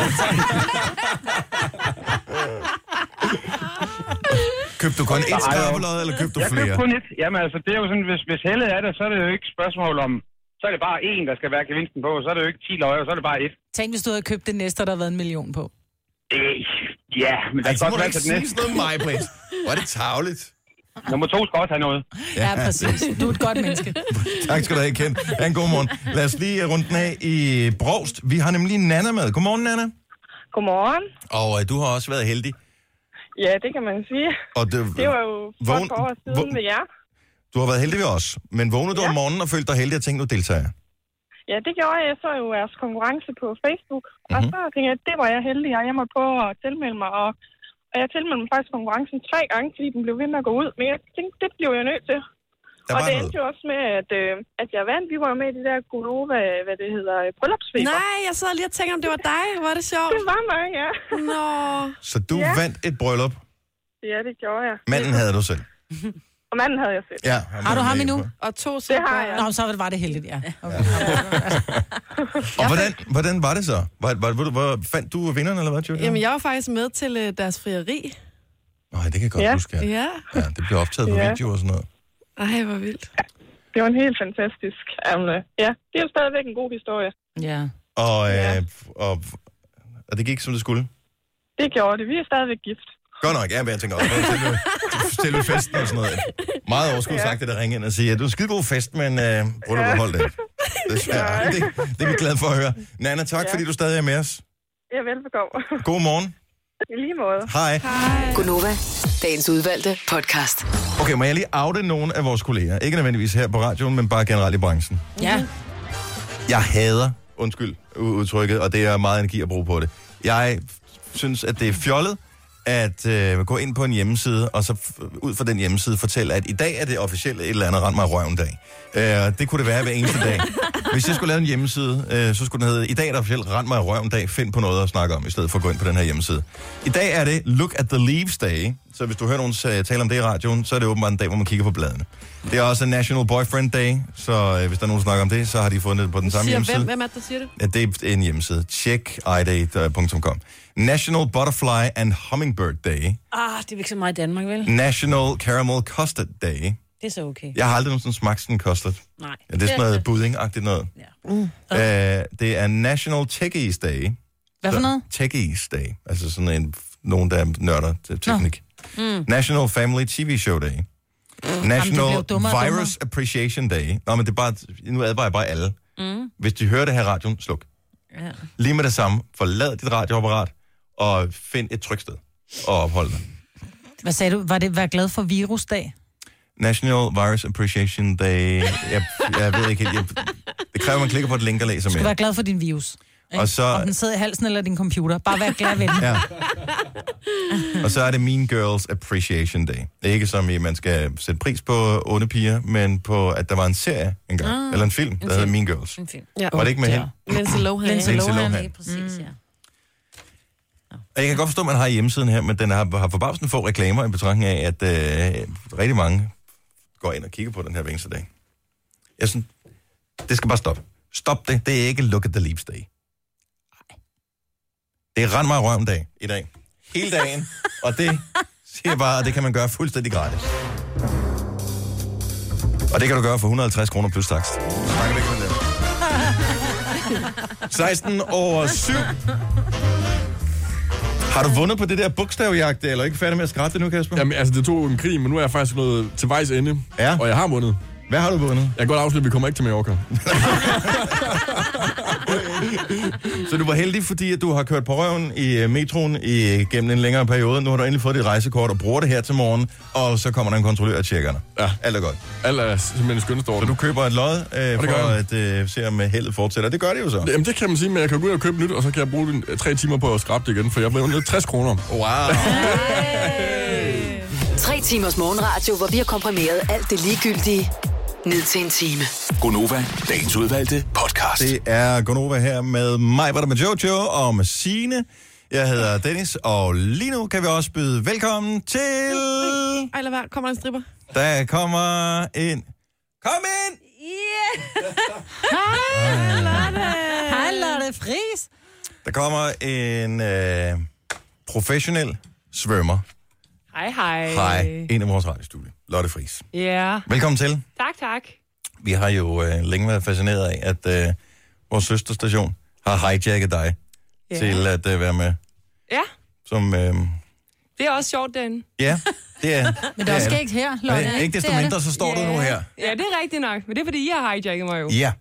[SPEAKER 1] Købte du kun et skrabelod, eller købte du
[SPEAKER 9] jeg
[SPEAKER 1] flere?
[SPEAKER 9] købte kun et. Jamen altså, det er jo sådan, hvis, hvis heldet er der, så er det jo ikke spørgsmål om, så er det bare én, der skal være gevinsten på, så er det jo ikke 10 løjer, så er det bare et.
[SPEAKER 2] tænk, hvis du havde købt det næste, og der havde været en million på.
[SPEAKER 9] Det, ja, men der
[SPEAKER 1] Ej,
[SPEAKER 9] kan
[SPEAKER 1] så må
[SPEAKER 9] godt
[SPEAKER 1] du
[SPEAKER 9] være
[SPEAKER 1] ikke
[SPEAKER 9] til den
[SPEAKER 1] sige
[SPEAKER 9] næste.
[SPEAKER 1] sådan noget mig, please. Hvor er det tavligt.
[SPEAKER 9] Nummer to skal også have noget.
[SPEAKER 2] Ja, præcis. Du er et godt menneske.
[SPEAKER 1] Tak skal du have, Ken. Ha' en god morgen. Lad os lige øh, runde den af i Brogst. Vi har nemlig Nana med. Godmorgen, Nana.
[SPEAKER 8] Godmorgen.
[SPEAKER 1] Og øh, du har også været heldig.
[SPEAKER 8] Ja, det kan man sige.
[SPEAKER 1] Og du,
[SPEAKER 8] Det var jo for
[SPEAKER 1] Vågn-
[SPEAKER 8] et par år siden
[SPEAKER 1] vågn-
[SPEAKER 8] med jer.
[SPEAKER 1] du har været heldig ved os. Men vågnede du om morgenen og følte dig heldig og tænkte, nu deltager jeg.
[SPEAKER 8] Ja, det gjorde jeg. Jeg så jo jeres konkurrence på Facebook. Mm-hmm.
[SPEAKER 1] Mhm.
[SPEAKER 8] Og så tænkte jeg, at det var jeg heldig. Jeg jeg måtte prøve at tilmelde mig. Og, og jeg tilmeldte mig faktisk konkurrencen tre gange, fordi den blev ved med at gå ud. Men jeg tænkte, det blev jeg nødt til.
[SPEAKER 1] Der
[SPEAKER 8] og
[SPEAKER 1] var
[SPEAKER 8] det
[SPEAKER 1] noget.
[SPEAKER 8] endte jo også med, at, øh, at jeg vandt. Vi var jo med i det der Gulova, hvad det hedder, øh, bryllupsfeber.
[SPEAKER 3] Nej, jeg sad lige og tænkte, om det var dig. Hvor er det sjovt.
[SPEAKER 8] Det var mig, ja.
[SPEAKER 3] Nå.
[SPEAKER 1] Så du
[SPEAKER 8] Ja.
[SPEAKER 1] vandt et bryllup.
[SPEAKER 8] Ja, det gjorde jeg.
[SPEAKER 1] Manden havde du selv.
[SPEAKER 8] Og manden havde jeg set.
[SPEAKER 1] Ja,
[SPEAKER 2] Har du ham endnu?
[SPEAKER 3] Og to
[SPEAKER 8] Det
[SPEAKER 3] stykker.
[SPEAKER 8] har jeg.
[SPEAKER 2] Nå, så var det heldigt, ja. Okay.
[SPEAKER 1] Og hvordan, hvordan var det så? Var, var, var, var, fandt du vinderen, eller hvad, Julia?
[SPEAKER 3] Jamen, jeg var faktisk med til øh, deres frieri.
[SPEAKER 1] Nej, det kan jeg godt
[SPEAKER 8] Ja.
[SPEAKER 1] huske. Ja.
[SPEAKER 3] Ja.
[SPEAKER 1] ja. det blev optaget på
[SPEAKER 8] Ja.
[SPEAKER 1] video og sådan noget.
[SPEAKER 3] Ej, hvor vildt.
[SPEAKER 8] Det var en helt fantastisk emne. Ja, det er jo stadigvæk en god historie.
[SPEAKER 2] Ja.
[SPEAKER 1] Og, øh, og, og det gik, som det skulle.
[SPEAKER 8] Det gjorde det. Vi er stadigvæk gift.
[SPEAKER 1] Godt nok, ja, men jeg tænker også, selve, selve festen og sådan noget. Meget overskud sagt, det der ringe ind og sige, at du er en skide god fest, men øh, prøv at holde det. Det, er svært. det, det er vi glade for at høre. Nana, tak ja. fordi du stadig er med os.
[SPEAKER 8] Ja, velbekomme.
[SPEAKER 1] God morgen.
[SPEAKER 8] I lige måde.
[SPEAKER 1] Hej.
[SPEAKER 5] Gunova, dagens udvalgte podcast.
[SPEAKER 1] Okay, må jeg lige oute nogen af vores kolleger? Ikke nødvendigvis her på radioen, men bare generelt i branchen.
[SPEAKER 2] Ja.
[SPEAKER 1] Jeg hader, undskyld u- udtrykket, og det er meget energi at bruge på det. Jeg synes, at det er fjollet at øh, gå ind på en hjemmeside, og så f- ud fra den hjemmeside fortælle, at i dag er det officielt et eller andet rend mig i røven dag. Øh, det kunne det være hver eneste dag. Hvis jeg skulle lave en hjemmeside, øh, så skulle den hedde, i dag er det officielt rend mig i røven dag, find på noget at snakke om, i stedet for at gå ind på den her hjemmeside. I dag er det Look at the Leaves Day, så hvis du hører nogen øh, tale om det i radioen, så er det åbenbart en dag, hvor man kigger på bladene. Det er også National Boyfriend Day, så øh, hvis der er nogen, der snakker om det, så har de fundet det på den samme
[SPEAKER 3] Siger,
[SPEAKER 1] hjemmeside.
[SPEAKER 3] hvem, hvem er det, der siger det?
[SPEAKER 1] Ja, det er en hjemmeside. Check idate.com. National Butterfly and Hummingbird Day.
[SPEAKER 4] Ah, det er ikke så meget i Danmark, vel?
[SPEAKER 1] National Caramel Custard Day.
[SPEAKER 4] Det er så okay.
[SPEAKER 1] Jeg har aldrig nogensinde smagt sådan en custard.
[SPEAKER 4] Nej.
[SPEAKER 1] Ja, det er sådan noget budding-agtigt noget.
[SPEAKER 4] Ja.
[SPEAKER 10] Mm.
[SPEAKER 1] Ja. Uh, det er National Techies Day.
[SPEAKER 2] Hvad for
[SPEAKER 1] Så-
[SPEAKER 2] noget?
[SPEAKER 1] Techies Day. Altså sådan en, nogen, der nørder til teknik. Mm. National Family TV Show Day. National
[SPEAKER 2] bliver jo
[SPEAKER 1] Jamen,
[SPEAKER 2] dummere og
[SPEAKER 1] Virus
[SPEAKER 2] dummere.
[SPEAKER 1] Appreciation Day. Nå, men det er bare, nu advarer jeg bare alle. Mm. Hvis de hører det her i radioen, sluk.
[SPEAKER 4] Ja.
[SPEAKER 1] Lige med det samme, forlad dit radioapparat og find et trygsted og ophold dig.
[SPEAKER 2] Hvad sagde du? Var det, vær glad for virusdag?
[SPEAKER 1] National Virus Appreciation Day. Jeg, jeg ved ikke helt. Jeg, det kræver, at man klikker på et link og læser
[SPEAKER 2] Du vær
[SPEAKER 1] mere.
[SPEAKER 2] glad for din virus. ikke?
[SPEAKER 1] Og så-
[SPEAKER 2] Om den sidder i halsen eller din computer. Bare vær glad ved den.
[SPEAKER 1] Ja. Og så er det Mean Girls Appreciation Day. Ikke som i, at man skal sætte pris på onde piger, men på, at der var en serie engang, ah, eller en film, der hedder
[SPEAKER 4] film.
[SPEAKER 1] Mean Girls.
[SPEAKER 4] En film.
[SPEAKER 3] Ja.
[SPEAKER 1] Var det ikke med
[SPEAKER 2] Ja.
[SPEAKER 1] hende?
[SPEAKER 3] Lindsay Lohan.
[SPEAKER 2] Lindsay
[SPEAKER 1] Lindsay
[SPEAKER 2] Lohan.
[SPEAKER 1] Lohan.
[SPEAKER 4] Lige præcis, mm. ja.
[SPEAKER 1] Og Jeg kan godt forstå, at man har hjemmesiden her, men den har, har forbavsende få reklamer i betragtning af, at øh, rigtig mange går ind og kigger på den her hver eneste dag. Jeg synes, det skal bare stoppe. Stop det. Det er ikke Look at the Leaves Day. Det er rend mig i røven dag i dag. Hele dagen. og det siger jeg bare, at det kan man gøre fuldstændig gratis. Og det kan du gøre for 150 kroner plus takst. Snakker vi ikke om det. 16 over 7. Har du vundet på det der bogstavjagt, eller ikke færdig med at skrætte det nu, Kasper?
[SPEAKER 7] Jamen, altså, det tog jo en krig, men nu er jeg faktisk nået til vejs ende.
[SPEAKER 1] Ja.
[SPEAKER 7] Og jeg har vundet.
[SPEAKER 1] Hvad har du vundet?
[SPEAKER 7] Jeg kan godt afsløre, at vi kommer ikke til Mallorca.
[SPEAKER 1] Så du var heldig, fordi at du har kørt på røven i øh, metroen i, øh, gennem en længere periode. Nu har du endelig fået dit rejsekort og bruger det her til morgen, og så kommer der en kontrollør og tjekker dig.
[SPEAKER 7] Ja.
[SPEAKER 1] Alt er godt.
[SPEAKER 7] Alt er simpelthen skønnest over.
[SPEAKER 1] Så du køber et lod øh,
[SPEAKER 7] det
[SPEAKER 1] for
[SPEAKER 7] gør jeg.
[SPEAKER 1] at øh, se, om øh, heldet fortsætter. Det gør det jo så.
[SPEAKER 7] Jamen, det kan man sige, men jeg kan gå ud og købe nyt, og så kan jeg bruge den, øh, tre timer på at skrabe det igen, for jeg blev nødt 60 kroner.
[SPEAKER 1] Wow.
[SPEAKER 5] Tre timers morgenradio, hvor vi har komprimeret alt det ligegyldige ned til en time.
[SPEAKER 6] Gonova, dagens udvalgte podcast.
[SPEAKER 1] Det er Gonova her med mig, var der med Jojo og med Signe. Jeg hedder Dennis, og lige nu kan vi også byde velkommen til...
[SPEAKER 3] Ej, lad være. Kommer der en stripper?
[SPEAKER 1] Der kommer ind. Kom ind!
[SPEAKER 2] Hej, Lotte Friis.
[SPEAKER 1] Der kommer en øh, professionel svømmer.
[SPEAKER 11] Hej, hej.
[SPEAKER 1] Hej, en af vores radiostudie. Lotte Friis.
[SPEAKER 11] Ja.
[SPEAKER 1] Velkommen til.
[SPEAKER 11] Tak, tak.
[SPEAKER 1] Vi har jo øh, længe været fascineret af, at øh, vores søsterstation har hijacket dig yeah. til at øh, være med.
[SPEAKER 11] Ja,
[SPEAKER 1] Som, øh,
[SPEAKER 11] det er også sjovt, den.
[SPEAKER 1] ja, det er
[SPEAKER 2] Men det er også skægt her, Lotte.
[SPEAKER 1] Men ikke desto
[SPEAKER 2] det er
[SPEAKER 1] mindre, så står yeah. du nu her.
[SPEAKER 11] Ja, det er rigtigt nok, men det er, fordi I har hijacket mig jo.
[SPEAKER 1] Ja.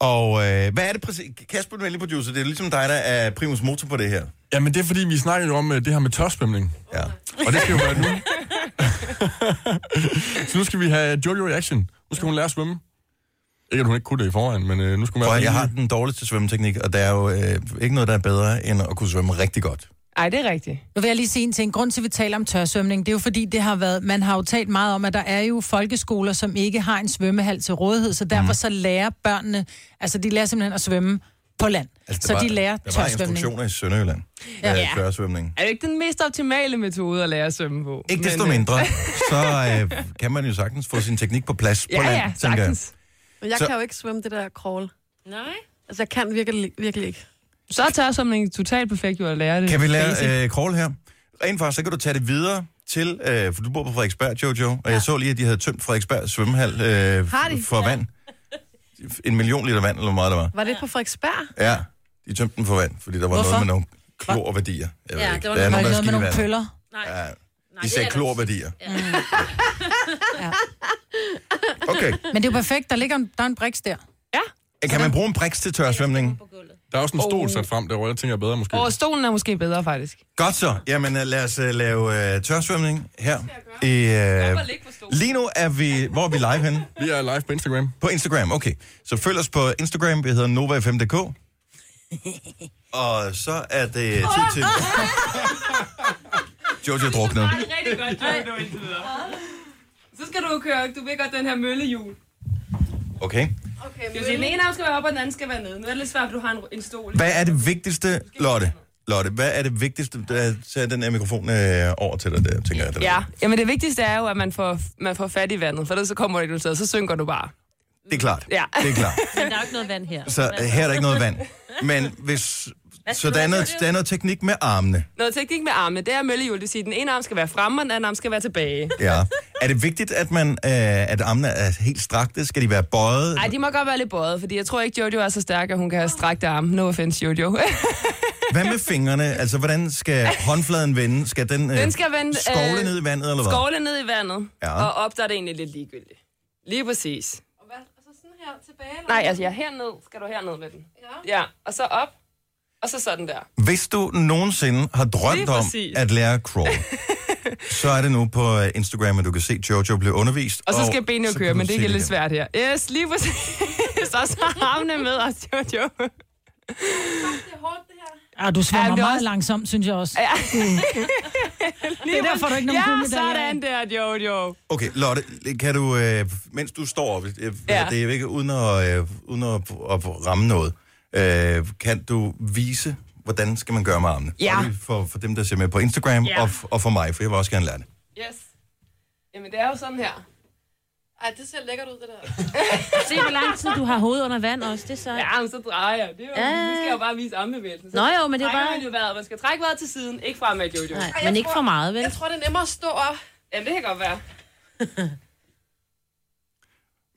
[SPEAKER 1] Og øh, hvad er det præcis? Kasper, du er producer. Det er ligesom dig, der er primus motor på det her.
[SPEAKER 7] Jamen, det er fordi, vi snakker jo om øh, det her med tørspæmning.
[SPEAKER 1] Ja.
[SPEAKER 7] Og det skal jo være nu. så nu skal vi have Jojo i action. Nu skal hun lære at svømme. Ikke, at hun ikke kunne det i forvejen, men øh, nu skal hun
[SPEAKER 1] Og
[SPEAKER 7] være...
[SPEAKER 1] jeg har den dårligste svømmeteknik, og der er jo øh, ikke noget, der er bedre end at kunne svømme rigtig godt.
[SPEAKER 11] Nej, det er rigtigt.
[SPEAKER 2] Nu vil jeg lige sige en ting. Grunden til, at vi taler om tørsvømning, det er jo fordi, det har været, man har jo talt meget om, at der er jo folkeskoler, som ikke har en svømmehal til rådighed, så
[SPEAKER 1] Mhm.
[SPEAKER 2] derfor så lærer børnene, altså de lærer simpelthen at svømme på land. Altså,
[SPEAKER 1] der
[SPEAKER 2] så
[SPEAKER 1] var-
[SPEAKER 2] de lærer
[SPEAKER 1] Der var
[SPEAKER 2] tørsvømning.
[SPEAKER 1] instruktioner i Sønderjylland. Ja. Øh, tørsvømning.
[SPEAKER 11] Er det ikke den mest optimale metode at lære at svømme på?
[SPEAKER 1] Ikke desto
[SPEAKER 11] Men, øh,
[SPEAKER 1] mindre, så øh, kan man jo sagtens få sin teknik på plads på
[SPEAKER 11] Ja,
[SPEAKER 1] land,
[SPEAKER 11] ja,
[SPEAKER 1] tænker jeg.
[SPEAKER 11] sagtens.
[SPEAKER 3] Men
[SPEAKER 1] Så-
[SPEAKER 3] jeg så... kan jo ikke svømme det der crawl.
[SPEAKER 4] Nej.
[SPEAKER 3] Altså, jeg kan virkelig, virkelig ikke.
[SPEAKER 11] Så er tørsvømning totalt perfekt jo at lære det.
[SPEAKER 1] Kan vi
[SPEAKER 11] Basic.
[SPEAKER 1] lære øh, crawl her? Rent faktisk, så kan du tage det videre til, øh, for du bor på Frederiksberg, Jojo, og jeg så lige, at de havde tømt Frederiksberg svømmehal øh,
[SPEAKER 3] Har de?
[SPEAKER 1] for vand. En million liter vand, eller hvor meget der var.
[SPEAKER 3] Var det på Frederiksberg?
[SPEAKER 1] Ja, de tømte den for vand, fordi der var
[SPEAKER 2] Hvorfor?
[SPEAKER 1] noget med nogle klorværdier. Jeg ved
[SPEAKER 4] Ja,
[SPEAKER 1] ikke.
[SPEAKER 4] det var
[SPEAKER 1] Der er
[SPEAKER 4] noget-
[SPEAKER 2] Var
[SPEAKER 1] nogen,
[SPEAKER 2] det
[SPEAKER 1] der er
[SPEAKER 2] noget med nogle
[SPEAKER 1] skidt i vand.
[SPEAKER 2] pøller?
[SPEAKER 4] Nej.
[SPEAKER 1] Ja,
[SPEAKER 4] Nej,
[SPEAKER 1] de
[SPEAKER 4] det er
[SPEAKER 1] sagde
[SPEAKER 4] der-
[SPEAKER 1] klorværdier.
[SPEAKER 4] Ja.
[SPEAKER 1] Okay,
[SPEAKER 2] Men det er jo perfekt, der ligger en, der er en briks der.
[SPEAKER 1] kan man bruge en briks til tørsvømning?
[SPEAKER 4] På gulvet.
[SPEAKER 7] Der er også en stol
[SPEAKER 11] Åh.
[SPEAKER 7] sat frem derovre, jeg tænker bedre måske.
[SPEAKER 11] Og stolen er måske bedre, faktisk.
[SPEAKER 1] Godt så. Jamen øh, lad os øh, lave øh, tørsvømning her. I, øh, lige nu er vi... Hvor er vi live henne?
[SPEAKER 7] Vi er live på Instagram.
[SPEAKER 1] På Instagram, okay. Så følg os på Instagram. Vi hedder Nova5.dk. Og så er det tid til... Jojo druknede.
[SPEAKER 11] Det er rigtig godt, Jojo, indtil videre. Så skal du køre, du ved godt, den her møllehjul.
[SPEAKER 1] Okay.
[SPEAKER 11] Okay, mølle. Den ene arm skal være op, og den anden skal være nede. Nu er det lidt svært, for du har en, en stol.
[SPEAKER 1] Hvad er det vigtigste, Lotte? Lotte, hvad er det vigtigste? Der tager den her mikrofon øh, over til dig, der, tænker jeg. Den
[SPEAKER 11] Ja, jamen det vigtigste er jo, at man får, man får fat i vandet, for ellers så kommer det ikke nogen steder, så synker du bare.
[SPEAKER 1] Det er klart.
[SPEAKER 11] Ja.
[SPEAKER 1] Det er klart.
[SPEAKER 4] Men der er jo ikke noget vand her.
[SPEAKER 1] Så øh, her er der ikke noget vand. Men hvis...
[SPEAKER 11] Hvad
[SPEAKER 1] Så
[SPEAKER 11] skal du
[SPEAKER 1] der er,
[SPEAKER 11] have,
[SPEAKER 1] noget,
[SPEAKER 11] Jojo?
[SPEAKER 1] der er noget teknik med armene.
[SPEAKER 11] Noget teknik med armene, det er møllehjul, det vil sige, at den ene arm skal være fremme, og den anden arm skal være tilbage.
[SPEAKER 1] Ja. Er det vigtigt, at, man, øh, at armene er helt strakte? Skal de være bøjet?
[SPEAKER 11] Ej, de må godt være lidt bøjet, fordi jeg tror ikke, Jojo er så stærk, at hun kan have strækte arme. No offense, Jojo.
[SPEAKER 1] Hvad med fingrene? Altså, hvordan skal håndfladen vende? Skal den, øh,
[SPEAKER 11] den skal vende...
[SPEAKER 1] skovle
[SPEAKER 11] øh,
[SPEAKER 1] ned i vandet, eller hvad?
[SPEAKER 11] Skovle ned i vandet,
[SPEAKER 1] Ja.
[SPEAKER 11] ja. og op, der er det egentlig lidt ligegyldigt. Lige præcis. Nej, altså jeg herned, skal du herned med den. Ja. ja, og så op, og så sådan der.
[SPEAKER 1] Hvis du nogensinde har drømt
[SPEAKER 11] Lige
[SPEAKER 1] om
[SPEAKER 11] præcis.
[SPEAKER 1] at lære crawl, så er det nu på øh, Instagram, at du kan se Jojo blive undervist.
[SPEAKER 11] Og så skal benene jo
[SPEAKER 1] så
[SPEAKER 11] køre,
[SPEAKER 1] kan
[SPEAKER 11] men
[SPEAKER 1] du
[SPEAKER 11] det
[SPEAKER 1] se
[SPEAKER 11] er lidt
[SPEAKER 1] igen.
[SPEAKER 11] svært her. Yes, lige præcis. Og så armene med os, Jojo.
[SPEAKER 2] Ja, du
[SPEAKER 11] Ja,
[SPEAKER 2] svømmer
[SPEAKER 11] men det er
[SPEAKER 2] meget
[SPEAKER 11] også-
[SPEAKER 2] langsomt, synes jeg også. Mm.
[SPEAKER 11] Ja.
[SPEAKER 2] Det er derfor, du ikke nogen
[SPEAKER 11] Ja,
[SPEAKER 2] guldmedaljer.
[SPEAKER 11] sådan der, Jojo.
[SPEAKER 1] Okay, Lotte, kan du, øh, mens du står, øh, ja.
[SPEAKER 11] Ja.
[SPEAKER 1] det er ikke uden at, øh, uden at, at ramme noget, øh, kan du vise, hvordan skal man gøre med armene?
[SPEAKER 11] Ja.
[SPEAKER 1] Både For, for dem, der ser med på Instagram,
[SPEAKER 11] Ja.
[SPEAKER 1] og, f- og for mig, for jeg vil også gerne lære det.
[SPEAKER 11] Yes. Jamen, det er jo sådan her.
[SPEAKER 3] Ej, det ser lækkert ud, det der.
[SPEAKER 4] Se, hvor lang tid du har hovedet under vand også. Det er så...
[SPEAKER 11] Ja, men så drejer jeg. Det er jo,
[SPEAKER 4] Ja.
[SPEAKER 11] Nu skal jeg jo bare vise armbevægelsen. Så
[SPEAKER 4] Nå jo, men det er
[SPEAKER 11] trækker
[SPEAKER 4] bare-
[SPEAKER 11] Man, jo vejret. man skal trække vejret til siden, ikke fremad, Jojo.
[SPEAKER 4] Nej, men ikke for meget, vel?
[SPEAKER 3] Jeg tror, det er nemmere at stå op.
[SPEAKER 11] Jamen, det kan godt være.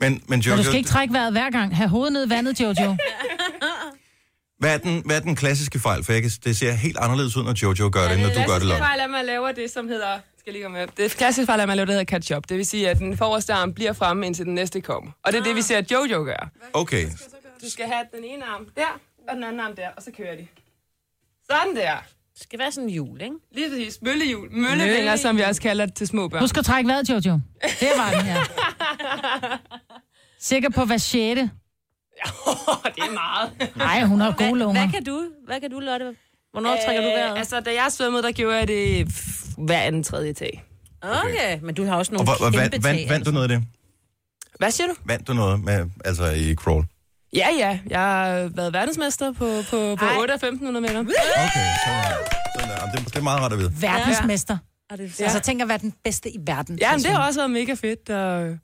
[SPEAKER 1] Men, men
[SPEAKER 2] Men
[SPEAKER 1] Jojo,
[SPEAKER 2] du skal ikke trække vejret hver gang. Ha' hovedet ned i vandet, Jojo.
[SPEAKER 1] hvad, er den, hvad er den klassiske fejl? For jeg kan, det ser helt anderledes ud, når Jojo gør ja, det, end når du gør det,
[SPEAKER 11] klassiske
[SPEAKER 1] Lotte.
[SPEAKER 11] fejl er, at man laver det, som hedder... Skal jeg lige komme med. Det klassiske fejl er, at man laver det, der hedder catch-up. Det vil sige, at den forreste arm bliver fremme, indtil den næste kommer. Og det er
[SPEAKER 4] Ah.
[SPEAKER 11] det, vi ser, at Jojo gør.
[SPEAKER 1] Okay,
[SPEAKER 11] Du skal have den ene arm der, og den anden arm der, og så kører de. Sådan der.
[SPEAKER 4] Det skal være sådan en jul, ikke?
[SPEAKER 11] Lige præcis. Møllehjul. Møllevinger, som vi også kalder det til små børn.
[SPEAKER 2] Husk at trække vejret, Jojo. Det var den her. Sikker på hver sjette.
[SPEAKER 11] det er meget.
[SPEAKER 2] Nej, hun har gode lunger.
[SPEAKER 4] Hvad kan du, hvad kan du Lotte? Hvornår øh, trækker du vejret?
[SPEAKER 11] Øh, altså, da jeg svømmede, der gjorde jeg det f- hver anden tredje tag.
[SPEAKER 4] okay. men du har også
[SPEAKER 1] og
[SPEAKER 4] nogle
[SPEAKER 1] hvor, hvor,
[SPEAKER 4] kæmpe
[SPEAKER 1] vand, vand,
[SPEAKER 4] tag,
[SPEAKER 1] vandt du noget af det?
[SPEAKER 11] Hvad siger du?
[SPEAKER 1] Vandt du noget med, altså i crawl?
[SPEAKER 11] Ja, ja. Jeg har været verdensmester på, på, på 8 og 1500 meter.
[SPEAKER 1] Okay, så, sådan der. Jamen, det, det er meget rart at vide.
[SPEAKER 2] Verdensmester.
[SPEAKER 4] Altså.
[SPEAKER 2] Altså, tænk at være den bedste i verden.
[SPEAKER 11] Ja, men det har også været mega fedt. Og,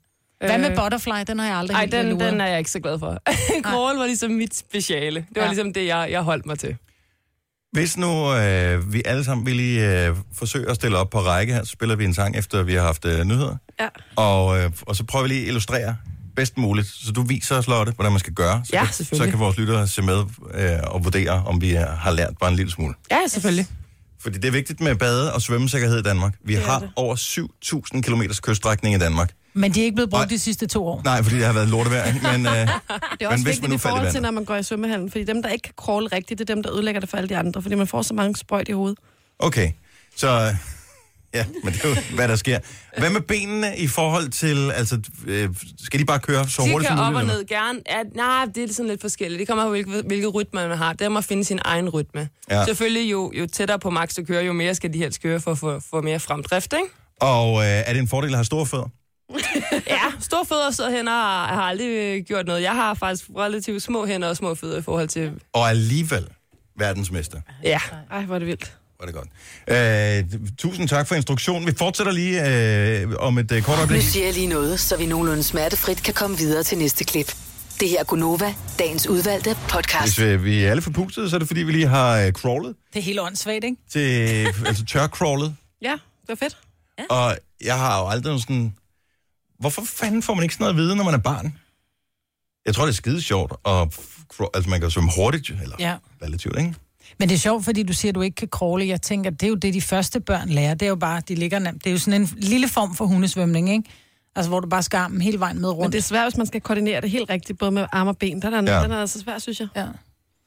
[SPEAKER 2] Hvad med butterfly? Den har jeg aldrig
[SPEAKER 11] Nej,
[SPEAKER 2] helt
[SPEAKER 11] den,
[SPEAKER 2] luret.
[SPEAKER 11] den er jeg ikke så glad for. Crawl var ligesom mit speciale. Det var
[SPEAKER 2] Ja.
[SPEAKER 11] ligesom det, jeg, jeg holdt mig til.
[SPEAKER 1] Hvis nu øh, vi alle sammen ville øh, forsøge at stille op på række her, så spiller vi en sang, efter vi har haft øh, nyheder.
[SPEAKER 3] Ja.
[SPEAKER 1] Og, øh, og så prøver vi lige at illustrere bedst muligt. Så du viser os, Lotte, hvordan man skal gøre. Så,
[SPEAKER 11] Ja,
[SPEAKER 1] kan, så
[SPEAKER 11] selvfølgelig.
[SPEAKER 1] kan vores lyttere se med øh, og vurdere, om vi øh, har lært bare en lille smule.
[SPEAKER 11] Ja, selvfølgelig.
[SPEAKER 1] Fordi det er vigtigt med bade- og svømmesikkerhed i Danmark. Vi har over 7.000 km kyststrækning i Danmark.
[SPEAKER 2] Men de er ikke blevet brugt
[SPEAKER 1] Nej.
[SPEAKER 2] de sidste to år.
[SPEAKER 1] Nej, fordi det har været lortevejr, ikke? men... Øh,
[SPEAKER 3] Det er
[SPEAKER 1] Men
[SPEAKER 3] også
[SPEAKER 1] hvis man nu
[SPEAKER 3] vigtigt i
[SPEAKER 1] faldt i
[SPEAKER 3] forhold til,
[SPEAKER 1] vandet?
[SPEAKER 3] når man går i svømmehallen, fordi dem, der ikke kan crawl rigtigt, det er dem, der ødelægger det for alle de andre, fordi man får så mange sprøjt i hovedet.
[SPEAKER 1] Okay, så øh, ja, men det er jo, hvad der sker. Hvad med benene i forhold til, altså, øh, skal de bare køre så
[SPEAKER 11] De
[SPEAKER 1] hurtigt
[SPEAKER 11] kan
[SPEAKER 1] som
[SPEAKER 11] op
[SPEAKER 1] muligt? eller
[SPEAKER 11] og ned gerne. Ja, nej, det er sådan lidt forskelligt. Det kommer af, hvilket, hvilket rytme man har. Det må finde sin egen rytme.
[SPEAKER 1] Ja.
[SPEAKER 11] Ja. Selvfølgelig, jo, jo tættere på max du kører, jo mere skal de helst køre for at få- få mere fremdrift, ikke?
[SPEAKER 1] hvad? Og øh, er det en fordel at have store fødder?
[SPEAKER 11] Ja, store fødder og store hænder har har aldrig øh, gjort noget. Jeg har faktisk relativt små hænder og små fødder i forhold til...
[SPEAKER 1] Og alligevel verdensmester.
[SPEAKER 11] Ja.
[SPEAKER 3] Ej, hvor er det vildt.
[SPEAKER 1] Var det godt. Øh, tusind tak for instruktionen. Vi fortsætter lige øh, om et øh, kort
[SPEAKER 5] Nu
[SPEAKER 1] øjeblik.
[SPEAKER 5] siger jeg lige noget, så vi nogenlunde smertefrit kan komme videre til næste klip. Det her er Gunova, dagens udvalgte podcast.
[SPEAKER 1] Hvis vi, vi er alle forpustede, så er det fordi, vi lige har øh, crawlet
[SPEAKER 2] Det er helt åndssvagt, ikke?
[SPEAKER 1] til, altså tørcrawlet.
[SPEAKER 3] Ja, det var fedt.
[SPEAKER 1] Og jeg har jo aldrig sådan... Hvorfor fanden får man ikke sådan noget at vide, når man er barn? Jeg tror, det er skide sjovt. Og f- altså, man kan jo svømme hurtigt, jo, eller
[SPEAKER 2] Ja.
[SPEAKER 1] relativt, ikke?
[SPEAKER 2] Men det er sjovt, fordi du siger, at du ikke kan kråle. Jeg tænker, det er jo det, de første børn lærer. Det er jo bare, de ligger nem. Det er jo sådan en lille form for hundesvømning, ikke? Altså, hvor du bare skal armen hele vejen med rundt.
[SPEAKER 3] Men det er svært, hvis man skal koordinere det helt rigtigt, både med arme og ben. Der er,
[SPEAKER 1] Ja.
[SPEAKER 3] ja. Den er altså svær, synes jeg.
[SPEAKER 2] Ja.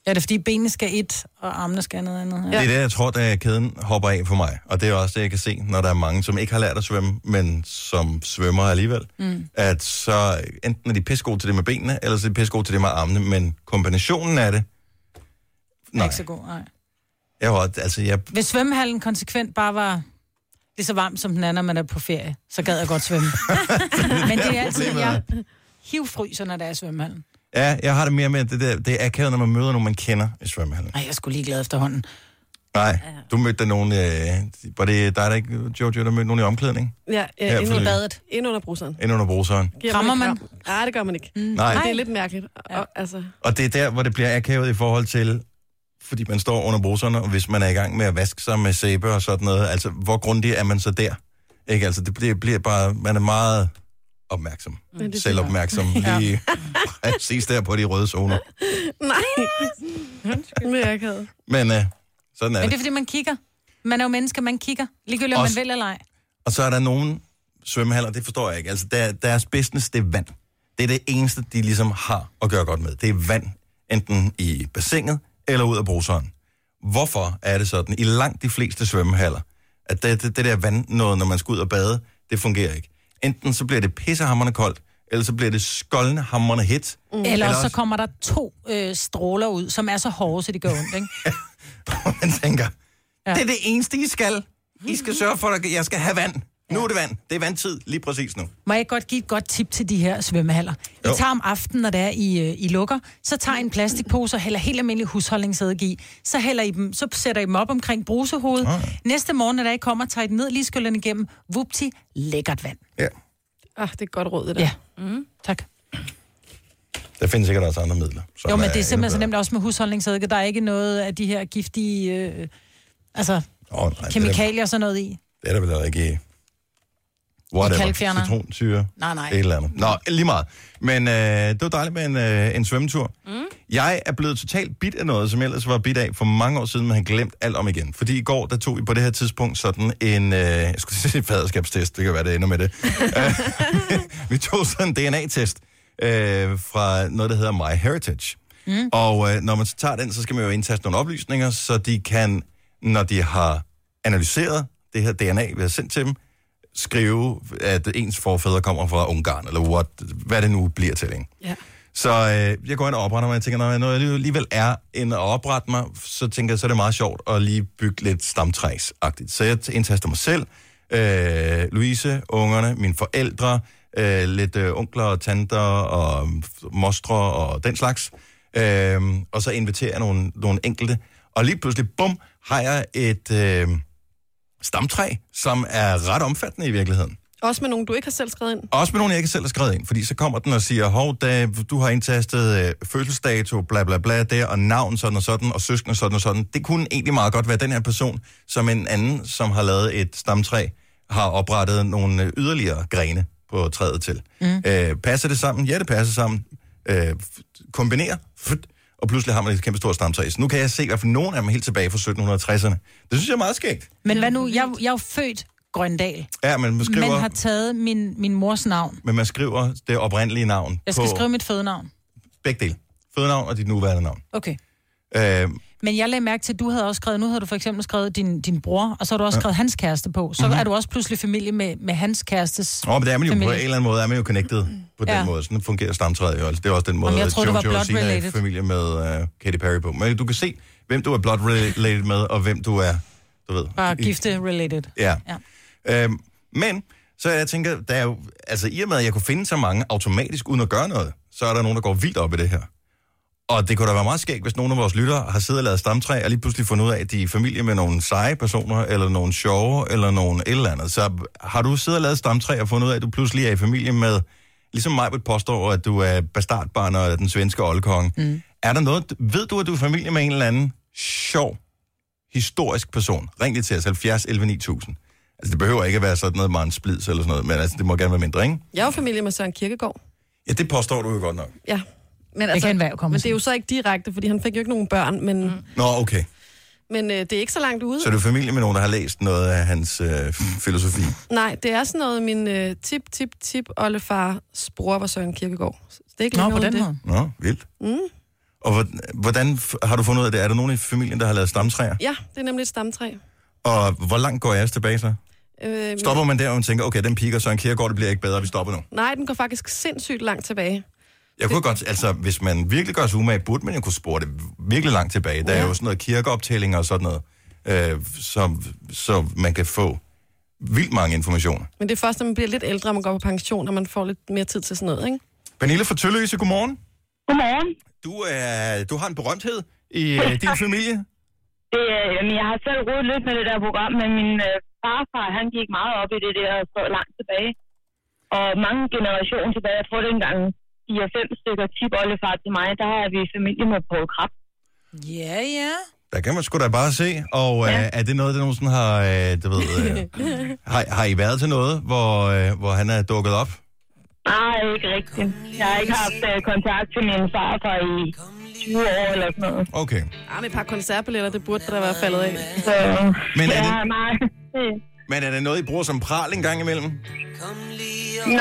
[SPEAKER 2] Ja, det er fordi benene skal et, og armene skal noget andet.
[SPEAKER 1] Ja. Det er det, jeg tror, da kæden hopper af for mig. Og det er også det, jeg kan se, når der er mange, som ikke har lært at svømme, men som svømmer alligevel.
[SPEAKER 2] Mm.
[SPEAKER 1] At så enten er de pissegode til det med benene, eller så er de pissegode til det med armene. Men kombinationen af det...
[SPEAKER 2] Nej.
[SPEAKER 1] Nej,
[SPEAKER 2] Ikke så god, nej.
[SPEAKER 1] jeg var, altså, jeg,
[SPEAKER 2] Hvis svømmehallen konsekvent bare var lige så varm som den anden, når man er på ferie, så gad jeg godt svømme. Men det er altid,
[SPEAKER 1] Problemet
[SPEAKER 2] jeg hivfryser, når der er i svømmehallen.
[SPEAKER 1] ja, jeg har det mere med, at det, der, det er akavet, når man møder nogen, man kender i svømmehallen.
[SPEAKER 2] Nej, jeg skulle lige glad efterhånden.
[SPEAKER 1] Nej, du mødte da nogen... Øh, var det dig, der ikke, Jojo, der mødte nogen i omklædning?
[SPEAKER 3] Ja,
[SPEAKER 1] Ja,
[SPEAKER 3] ja ind
[SPEAKER 1] for
[SPEAKER 3] under
[SPEAKER 1] lidt.
[SPEAKER 3] badet. Ind under bruseren.
[SPEAKER 1] Inden under bruseren.
[SPEAKER 3] Giver
[SPEAKER 2] Krammer
[SPEAKER 3] ikke kram? Nej, det gør man ikke.
[SPEAKER 1] Mm. Nej.
[SPEAKER 3] Det er lidt mærkeligt. Og, altså,
[SPEAKER 1] Og det er der, hvor det bliver akavet i forhold til, fordi man står under bruserne, og hvis man er i gang med at vaske sig med sæbe og sådan noget, altså hvor grundig er man så der? Ikke, altså det bliver, bliver bare, man er meget opmærksom.
[SPEAKER 3] Mm. Men det er
[SPEAKER 1] Selv opmærksom.
[SPEAKER 3] Ja.
[SPEAKER 1] Lige præcis der på de røde zoner.
[SPEAKER 3] nej. Det er akavet.
[SPEAKER 1] Men øh, sådan er
[SPEAKER 2] Men det er,
[SPEAKER 1] det.
[SPEAKER 2] fordi man kigger. Man er jo menneske, man kigger. Ligegyldigt, om man
[SPEAKER 1] Også-
[SPEAKER 2] vil eller ej.
[SPEAKER 1] Og så er der nogen svømmehaller, det forstår jeg ikke. Altså der, deres business, det er vand. Det er det eneste, de ligesom har at gøre godt med. Det er vand, enten i bassinet eller ud af bruseren. Hvorfor er det sådan i langt de fleste svømmehaller, at det, det, det der vand, noget, når man skal ud og bade, det fungerer ikke? Enten så bliver det pissehammerne koldt, eller så bliver det skoldende hammerne hit. Mm.
[SPEAKER 2] Eller også så kommer der to øh, stråler ud, som er så hårde, så de gør ondt, ikke?
[SPEAKER 1] man tænker, ja. det er det eneste, I skal. I
[SPEAKER 2] Mhm.
[SPEAKER 1] skal sørge for, at jeg skal have vand. Nu er det vand. Det er vandtid lige præcis nu.
[SPEAKER 2] Må jeg godt give et godt tip til de her svømmehaller? I
[SPEAKER 1] Jo.
[SPEAKER 2] tager om aftenen, når det er, I, øh, I lukker, så tager I en plastikpose og hælder helt almindelig husholdningsædike i. Så, hælder I dem, så sætter I dem op omkring brusehovedet.
[SPEAKER 1] Ah.
[SPEAKER 2] Næste morgen, når der I kommer, tager I dem ned, lige skyller den igennem. Vupti, lækkert vand.
[SPEAKER 1] Ja.
[SPEAKER 3] Ah, det er et godt råd, det der.
[SPEAKER 2] Ja. Mm. Tak.
[SPEAKER 1] Der findes sikkert også andre midler. som
[SPEAKER 2] Jo, men det
[SPEAKER 1] endnu
[SPEAKER 2] er simpelthen så
[SPEAKER 1] bedre.
[SPEAKER 2] nemt også med husholdningsædike. Der er ikke noget af de her giftige øh, altså,
[SPEAKER 1] Åh, nej,
[SPEAKER 2] kemikalier og sådan noget i.
[SPEAKER 1] Det er der vel heller ikke i... Whatever.
[SPEAKER 2] kalkfjerner.
[SPEAKER 1] Citronsyre.
[SPEAKER 2] Nej, nej.
[SPEAKER 1] Et eller andet. Nå, lige meget. Men øh, det var dejligt med en, øh, en svømmetur. Mm. Jeg er blevet totalt bit af noget, som jeg ellers var bit af for mange år siden, men har glemt alt om igen. Fordi i går, der tog vi på det her tidspunkt sådan en... Øh, jeg skulle sige faderskabstest, det kan være, det ender med det. Øh, vi tog sådan en DNA-test øh, fra noget, der hedder My Heritage. Mm. Og øh, når man så tager den, så skal man jo indtaste nogle oplysninger, så de kan, når de har analyseret det her DNA, vi har sendt til dem, skrive, at ens forfædre kommer fra Ungarn, eller what, hvad det nu bliver til, ikke?
[SPEAKER 3] Ja.
[SPEAKER 1] Så øh, jeg går ind og opretter mig, og jeg tænker, når jeg nu alligevel er end at oprette mig, så tænker jeg, så er det meget sjovt at lige bygge lidt stamtræsagtigt. Så jeg indtaster mig selv, øh, Louise, ungerne, mine forældre, øh, lidt øh, onkler og tanter og mostre og den slags. Øh, og så inviterer jeg nogle, nogle enkelte. Og lige pludselig, bum, har jeg et øh, stamtræ, som er ret omfattende i virkeligheden.
[SPEAKER 3] Også med nogen, du ikke har selv skrevet ind.
[SPEAKER 1] Også med nogen, jeg ikke selv har skrevet ind, fordi så kommer den og siger, hov, da du har indtastet øh, fødselsdato, bla bla bla, der, og navn sådan og sådan, og søskende sådan og sådan. Det kunne egentlig meget godt være den her person, som en anden, som har lavet et stamtræ, har oprettet nogle øh, yderligere grene på træet til. Mm. Øh, passer det sammen? Ja, det passer sammen. Øh, f- kombinerer, Fut. og pludselig har man et kæmpe stort stamtræ. Så nu kan jeg se, hvad for nogen af dem er helt tilbage fra 1760'erne. Det synes jeg er meget skægt.
[SPEAKER 2] Men hvad nu? Jeg, jeg er jo født Grøndal,
[SPEAKER 1] Ja, men man skriver,
[SPEAKER 2] men
[SPEAKER 1] men,
[SPEAKER 2] har taget min, min mors navn.
[SPEAKER 1] men man skriver det oprindelige navn
[SPEAKER 2] Jeg skal
[SPEAKER 1] på...
[SPEAKER 2] skrive mit fødenavn.
[SPEAKER 1] Begge dele. Fødenavn og dit nuværende navn.
[SPEAKER 2] Okay.
[SPEAKER 1] Øh,
[SPEAKER 2] Men jeg lagde mærke til, at du havde også skrevet, nu havde du for eksempel skrevet din, din bror, og så har du også skrevet hans kæreste på. Så mm-hmm. er du også pludselig familie med, med hans kærestes
[SPEAKER 1] og Mhm. det er man jo på en
[SPEAKER 2] familie.
[SPEAKER 1] eller anden måde, er man jo connected på den
[SPEAKER 2] Ja.
[SPEAKER 1] måde. Sådan fungerer stamtræet jo. Altså, det er også den måde,
[SPEAKER 2] Jamen, jeg troede, det var
[SPEAKER 1] Jojo
[SPEAKER 2] blood
[SPEAKER 1] Sina er
[SPEAKER 2] related.
[SPEAKER 1] familie med uh, Katy Perry på. Men du kan se, hvem du er blood related med, og hvem du er, du ved.
[SPEAKER 2] Bare
[SPEAKER 1] i-
[SPEAKER 2] gifte-related.
[SPEAKER 1] Ja. ja. Øhm, men, så jeg tænker, der er jo, altså i og med, at jeg kunne finde så mange automatisk uden at gøre noget, så er der nogen, der går vildt op i det her. Og det kunne da være meget skægt, hvis nogen af vores lyttere har siddet og lavet stamtræ, og lige pludselig fundet ud af, at de er i familie med nogle seje personer, eller nogle sjove, eller nogle et eller andet. Så har du siddet og lavet stamtræ og fundet ud af, at du pludselig er i familie med, ligesom mig påstår, at du er bastardbarn af den svenske oldkonge. Mm. Er der noget, ved du, at du er i familie med en eller anden sjov historisk person, ring lige til os, 70 11 9000. Altså, det behøver ikke at være sådan noget med en splids eller sådan noget, men altså, det må gerne være mindre, ikke?
[SPEAKER 3] Jeg er jo familie med Søren Kirkegaard.
[SPEAKER 1] Ja, det påstår du jo godt nok.
[SPEAKER 3] Ja. Men, altså,
[SPEAKER 2] kan enhver jo komme
[SPEAKER 3] men
[SPEAKER 2] til.
[SPEAKER 3] det er jo så ikke direkte, fordi han fik jo ikke nogen børn, men, mm.
[SPEAKER 1] Nå, okay.
[SPEAKER 3] men øh, det er ikke så langt ude.
[SPEAKER 1] Så er du i familie med nogen, der har læst noget af hans øh, filosofi.
[SPEAKER 3] Nej, det er sådan noget, min øh, tip, tip, tip, oldefars bror var Søren Kirkegaard. Så det er ikke
[SPEAKER 2] Nå,
[SPEAKER 3] længere
[SPEAKER 2] på
[SPEAKER 3] ud
[SPEAKER 2] den
[SPEAKER 3] end det.
[SPEAKER 2] måde.
[SPEAKER 1] Nå, vildt. Mm. Og hvordan, hvordan f- har du fundet ud af det? Er der nogen i familien, der har lavet stamtræer?
[SPEAKER 3] Ja, det er nemlig et stamtræ.
[SPEAKER 1] Og hvor langt går jeres tilbage så?
[SPEAKER 3] Øh,
[SPEAKER 1] Stopper man der, og man tænker, okay, den piker, så en kærgård, det bliver ikke bedre, vi stopper nu.
[SPEAKER 3] Nej, den går faktisk sindssygt langt tilbage.
[SPEAKER 1] Jeg kunne godt, altså, hvis man virkelig gør sig umage, burde man jo kunne spore det virkelig langt tilbage. Der er jo sådan noget kirkeoptællinger og sådan noget, øh, så, så man kan få vildt mange informationer.
[SPEAKER 3] Men det er først, når man bliver lidt ældre, og man går på pension, og man får lidt mere tid til sådan noget, ikke?
[SPEAKER 1] Pernille fra Tølløse, godmorgen.
[SPEAKER 12] Godmorgen.
[SPEAKER 1] Du, er, du har en berømthed i øh, din familie.
[SPEAKER 12] Det, øh, jamen, jeg har selv rodet lidt med det der program, men min øh, farfar, han gik meget op i det der og så langt tilbage. Og mange generationer tilbage, jeg tror det er engang 4-5 stykker tip oldefar til mig, der har vi familie med Paul Krab.
[SPEAKER 2] Ja, ja.
[SPEAKER 1] Der kan man sgu da bare se, og øh, er det noget, der nogensinde har, øh, du ved, øh, har, har I været til noget, hvor, øh, hvor han er dukket op?
[SPEAKER 12] Nej, ikke rigtigt. Jeg har ikke haft øh, kontakt til min farfar i 20 år eller sådan noget.
[SPEAKER 1] Okay.
[SPEAKER 3] Ah, med et par koncertbilletter, det burde der da være faldet af.
[SPEAKER 12] Så,
[SPEAKER 1] Men er
[SPEAKER 12] ja,
[SPEAKER 1] det-
[SPEAKER 12] nej. det-
[SPEAKER 1] Men er det noget, I bruger som pral en gang imellem?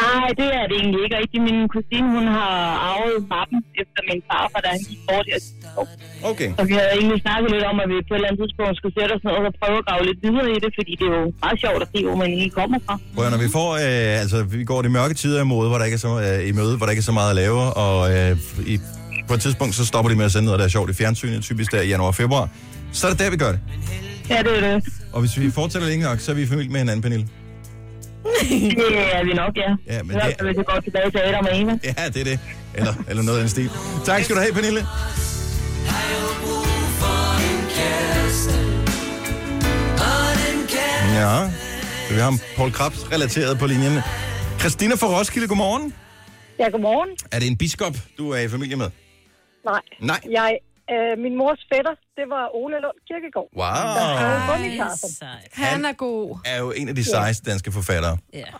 [SPEAKER 12] Nej, det er det egentlig ikke rigtigt. Min kusine, hun har arvet mappen efter min farfar, da han gik bort her sidste år.
[SPEAKER 1] Okay.
[SPEAKER 12] Og vi havde egentlig snakket lidt om, at vi på et eller andet tidspunkt skulle sætte os ned og prøve at grave lidt videre i det, fordi det er jo meget sjovt at se, hvor man egentlig kommer fra.
[SPEAKER 1] Prøv, at høre, når vi får, øh, altså, vi går de mørke tider i mode, hvor der ikke er så, øh, i møde, hvor der ikke er så meget at lave, og øh, i, på et tidspunkt, så stopper de med at sende noget, der er sjovt i fjernsynet, typisk der i januar og februar. Så er det der, vi gør det.
[SPEAKER 12] Ja, det er det.
[SPEAKER 1] Og hvis vi fortsætter længe nok, så er vi i familie med hinanden, Pernille.
[SPEAKER 12] det er vi nok, ja.
[SPEAKER 1] Ja, men
[SPEAKER 12] I hvert
[SPEAKER 1] det-
[SPEAKER 12] fald, Hvis vi går tilbage til Adam og Eva.
[SPEAKER 1] Ja, det er det. Eller, eller noget af den stil. Tak skal du have, Pernille. Ja, så vi har Paul Krabs relateret på linjen. Christina fra Roskilde, godmorgen.
[SPEAKER 13] Ja, godmorgen.
[SPEAKER 1] Er det en biskop, du er i familie med?
[SPEAKER 13] Nej.
[SPEAKER 1] Nej.
[SPEAKER 13] Jeg, øh, min mors fætter, det var Ole Lund Kirkegaard.
[SPEAKER 1] Wow.
[SPEAKER 13] Der skrev Gummikassen.
[SPEAKER 3] Han er god.
[SPEAKER 1] Er jo en af de sejeste danske forfattere.
[SPEAKER 4] Ja.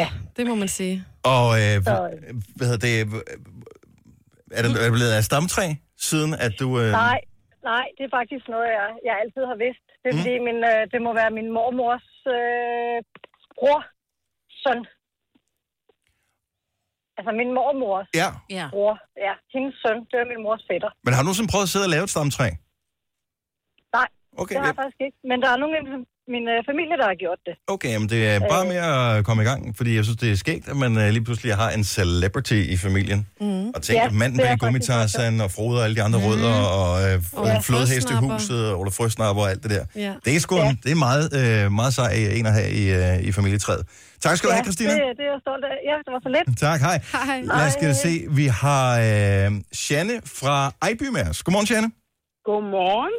[SPEAKER 3] Ja, det må man sige.
[SPEAKER 1] Og øh,
[SPEAKER 3] Så-
[SPEAKER 1] hvad hedder det? øh, Er det er det blevet af stamtræ, siden at du... Øh,
[SPEAKER 13] Nej, nej, det er faktisk noget, jeg, jeg altid har vidst. Det er
[SPEAKER 1] Mm.
[SPEAKER 13] fordi, min, øh, det må være min mormors øh, bror, søn. Altså min mormors
[SPEAKER 1] Ja.
[SPEAKER 13] bror. Ja, hendes søn, det er min mors fætter.
[SPEAKER 1] Men har du nogensinde prøvet at sidde og lave et stamtræ?
[SPEAKER 13] Nej,
[SPEAKER 1] Okay,
[SPEAKER 13] det har jeg
[SPEAKER 1] ja.
[SPEAKER 13] faktisk ikke. Men der er nogen i min- min øh, familie, der har gjort det.
[SPEAKER 1] Okay, jamen det er
[SPEAKER 13] Øh.
[SPEAKER 1] bare med at komme i gang, fordi jeg synes, det er skægt, at man øh, lige pludselig har en celebrity i familien.
[SPEAKER 13] Mm.
[SPEAKER 1] Og tænk, ja, manden bag gummitarsan og Frode og alle de
[SPEAKER 13] Mhm.
[SPEAKER 1] andre mm. rødder, og øh,
[SPEAKER 13] Ola
[SPEAKER 1] ja, flodhest i
[SPEAKER 13] Frøsnapper.
[SPEAKER 1] huset, og Ole Frøsnapper og alt det der.
[SPEAKER 13] Ja.
[SPEAKER 1] Det er sgu ja. det er meget, øh, meget sej en at have i, øh, i familietræet. Tak skal du
[SPEAKER 13] ja,
[SPEAKER 1] have, Christina.
[SPEAKER 13] Det, det er jeg stolt af. Ja, det var så let.
[SPEAKER 1] Tak, hej.
[SPEAKER 13] Hej.
[SPEAKER 1] Lad os skal se, vi har øh, Janne fra Ejby med os. Godmorgen, Janne.
[SPEAKER 14] Godmorgen.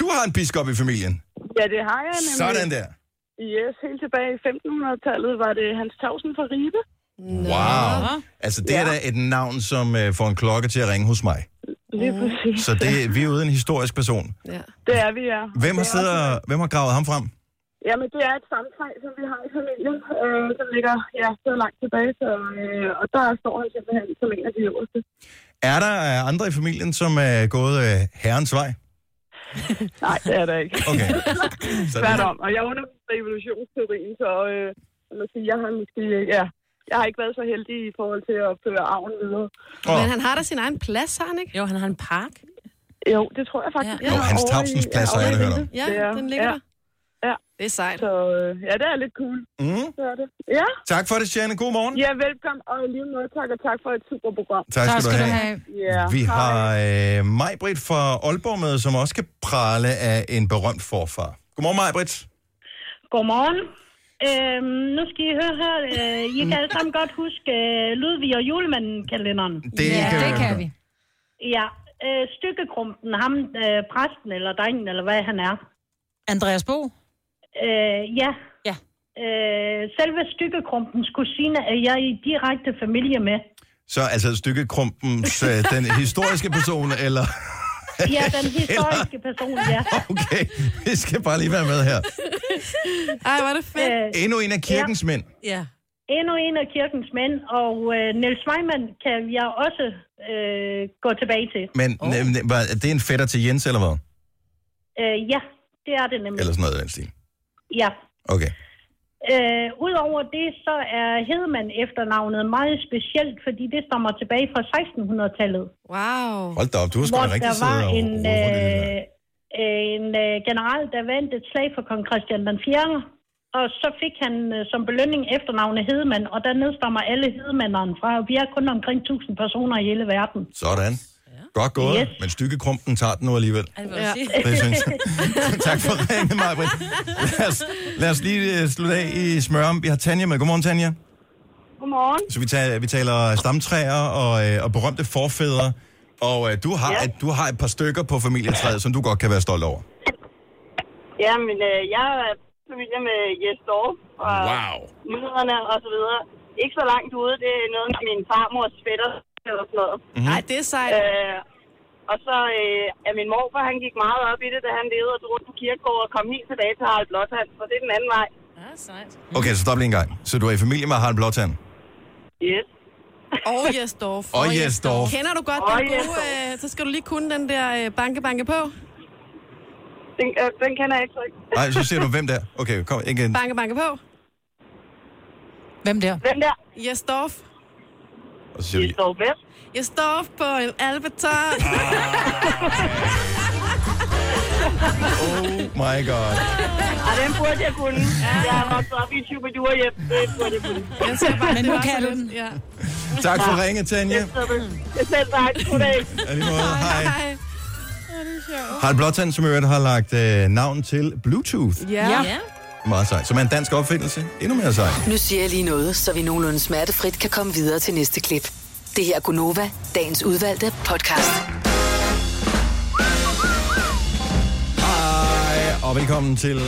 [SPEAKER 1] Du har en biskop i familien.
[SPEAKER 14] Ja, det har jeg nemlig.
[SPEAKER 1] Sådan der.
[SPEAKER 14] Yes, helt tilbage i 1500-tallet var det Hans Tausen fra Ribe.
[SPEAKER 1] Wow. Altså, det er da et navn, som øh, får en klokke til at ringe hos mig.
[SPEAKER 14] Lige præcis.
[SPEAKER 1] Så det, vi er ude en historisk person.
[SPEAKER 14] Ja. Det er vi, ja.
[SPEAKER 1] Hvem har,
[SPEAKER 14] Det er
[SPEAKER 1] siddet og, hvem har gravet ham frem?
[SPEAKER 14] også- Jamen, det er et samtræ, som vi har i familien, øh, som ligger ja, så langt tilbage. Så, øh, og der står han simpelthen som en af de øverste.
[SPEAKER 1] Er der øh, andre i familien, som er gået øh, herrens vej?
[SPEAKER 14] Nej, det er der ikke.
[SPEAKER 1] Okay.
[SPEAKER 14] Svært om. Og jeg underviser i evolutionsteorien, så øh, jeg må sige, jeg har måske... Ja, jeg har ikke været så heldig i forhold til at føre arven videre.
[SPEAKER 3] Men han har da sin egen plads, har han ikke?
[SPEAKER 4] Jo, han har en park.
[SPEAKER 14] Jo, det tror jeg faktisk.
[SPEAKER 3] Ja.
[SPEAKER 14] jeg
[SPEAKER 3] Jo,
[SPEAKER 14] har
[SPEAKER 1] Hans
[SPEAKER 14] over i-
[SPEAKER 1] Tavsens plads har jeg da
[SPEAKER 14] over i
[SPEAKER 1] hørt om.
[SPEAKER 14] Ribe.
[SPEAKER 3] Ja,
[SPEAKER 14] Det er-
[SPEAKER 3] den ligger
[SPEAKER 14] ja.
[SPEAKER 3] der.
[SPEAKER 14] Ja.
[SPEAKER 3] Det er sejt.
[SPEAKER 14] Så øh, ja, det er lidt cool.
[SPEAKER 1] Mm.
[SPEAKER 14] Det er det. Ja.
[SPEAKER 1] Tak for det, Janne. God morgen.
[SPEAKER 14] Ja, velkommen, og i lige måde tak, og tak for et super program.
[SPEAKER 1] Tak skal Tak du skal du have. have.
[SPEAKER 14] Ja,
[SPEAKER 1] Vi
[SPEAKER 14] hej.
[SPEAKER 1] har øh, Majbrit fra Aalborg med, som også kan prale af en berømt forfar. Godmorgen, Majbrit.
[SPEAKER 15] Godmorgen. Øhm, nu skal I høre her. Øh, I kan alle sammen godt huske øh, Ludvig og julemanden-kalenderen.
[SPEAKER 1] Det Ja, kan vi det godt. kan
[SPEAKER 15] vi. Ja, øh, stykkekrumpen, ham, øh, præsten eller drengen, eller hvad han er.
[SPEAKER 2] Andreas Bo?
[SPEAKER 15] Øh, ja.
[SPEAKER 2] Ja.
[SPEAKER 15] Øh, selve stykkekrumpens kusine er jeg i direkte familie med.
[SPEAKER 1] Så altså stykkekrumpens, øh, den historiske person, eller...
[SPEAKER 15] Ja, den historiske person, ja.
[SPEAKER 1] Okay, vi skal bare lige være med her.
[SPEAKER 15] Ej, hvor er det fedt.
[SPEAKER 1] Endnu en af kirkens mænd.
[SPEAKER 15] Øh, Ja. Endnu en af kirkens mænd, og øh, Niels Weimann kan jeg også øh, gå tilbage til.
[SPEAKER 1] Men oh. er det en fætter til Jens, eller hvad?
[SPEAKER 15] Mm. Øh, ja, det er det nemlig.
[SPEAKER 1] Eller sådan noget i den stil.
[SPEAKER 15] Ja.
[SPEAKER 1] Okay.
[SPEAKER 15] Øh, Udover det, så er Hedman efternavnet meget specielt, fordi det stammer tilbage fra 1600-tallet.
[SPEAKER 3] Wow.
[SPEAKER 1] Hold da op, du har sgu
[SPEAKER 15] Hvor
[SPEAKER 1] da rigtig
[SPEAKER 15] der var
[SPEAKER 1] siddet og
[SPEAKER 15] en,
[SPEAKER 1] rodet i det
[SPEAKER 15] øh, en øh, general, der vandt et slag for kong Christian den 4. Og så fik han øh, som belønning efternavnet Hedman, og der nedstammer alle hedemanderne fra. Vi er kun omkring 1000 personer i hele verden.
[SPEAKER 1] Sådan. Godt gået, yes.
[SPEAKER 15] Yes.
[SPEAKER 1] men stykkekrumpen tager den nu alligevel.
[SPEAKER 15] Ja.
[SPEAKER 1] Det synes jeg. tak for ringen, Maja lad, os, lad os lige øh, slutte af i smørum. Vi har Tanja med. Godmorgen, Tanja.
[SPEAKER 13] Godmorgen.
[SPEAKER 1] Så vi, tager, vi taler stamtræer og, øh, og berømte forfædre. Og øh, du, har
[SPEAKER 13] Ja.
[SPEAKER 1] et, du har et par stykker på familietræet, som du godt kan være stolt over.
[SPEAKER 13] Jamen, øh, jeg er familie med Jes Dorf fra
[SPEAKER 1] Wow.
[SPEAKER 13] Nyderne og så videre. Ikke så langt ude, det er noget med min farmors fætter eller sådan noget.
[SPEAKER 3] Mhm. Ej, det er sejt.
[SPEAKER 13] Øh, og så øh, er min morfar, han gik meget op i det, da han levede og drog rundt på kirkegård og kom helt tilbage til Harald Blåtand, så det er den anden vej. Ja, sejt.
[SPEAKER 1] Okay, så stop lige en gang. Så du er i familie med Harald Blåtand?
[SPEAKER 13] Yes.
[SPEAKER 3] Og Jesdorf.
[SPEAKER 1] Og Jesdorf.
[SPEAKER 3] Kender du godt
[SPEAKER 13] Og
[SPEAKER 3] den gode,
[SPEAKER 13] Jesdorf.
[SPEAKER 3] øh, så skal du lige kunne den der øh, banke, banke på.
[SPEAKER 13] Den, øh, den kender jeg ikke så
[SPEAKER 1] Nej, så siger du, hvem der? Okay, kom igen.
[SPEAKER 3] Banke, banke på.
[SPEAKER 2] Hvem der?
[SPEAKER 13] Hvem der?
[SPEAKER 3] Jesdorf.
[SPEAKER 1] Og så siger vi,
[SPEAKER 13] Jesdorf hvem?
[SPEAKER 3] Jesdorf på en albeton.
[SPEAKER 1] Ah. oh my god.
[SPEAKER 13] Ej, den burde jeg kunne. Jeg er vokset op i en superdur hjem. Det burde jeg kunne.
[SPEAKER 3] Jeg siger bare,
[SPEAKER 2] Men
[SPEAKER 3] det
[SPEAKER 2] nu
[SPEAKER 3] var
[SPEAKER 2] kan
[SPEAKER 3] så
[SPEAKER 2] du
[SPEAKER 3] lidt.
[SPEAKER 2] den.
[SPEAKER 3] Ja.
[SPEAKER 1] Tak for ringet, Tanja.
[SPEAKER 13] Jeg selv tak. Goddag.
[SPEAKER 1] Ja, lige måde. Hej.
[SPEAKER 3] Hej. Åh, det er sjovt.
[SPEAKER 1] Harald Blåtand, som i øvrigt har lagt øh, navn til Bluetooth.
[SPEAKER 3] Ja.
[SPEAKER 5] ja.
[SPEAKER 1] Meget sejt. Som er en dansk opfindelse. Endnu mere sejt.
[SPEAKER 5] Nu siger jeg lige noget, så vi nogenlunde smertefrit kan komme videre til næste klip. Det her er Gunova, dagens udvalgte podcast.
[SPEAKER 1] Hej, og velkommen til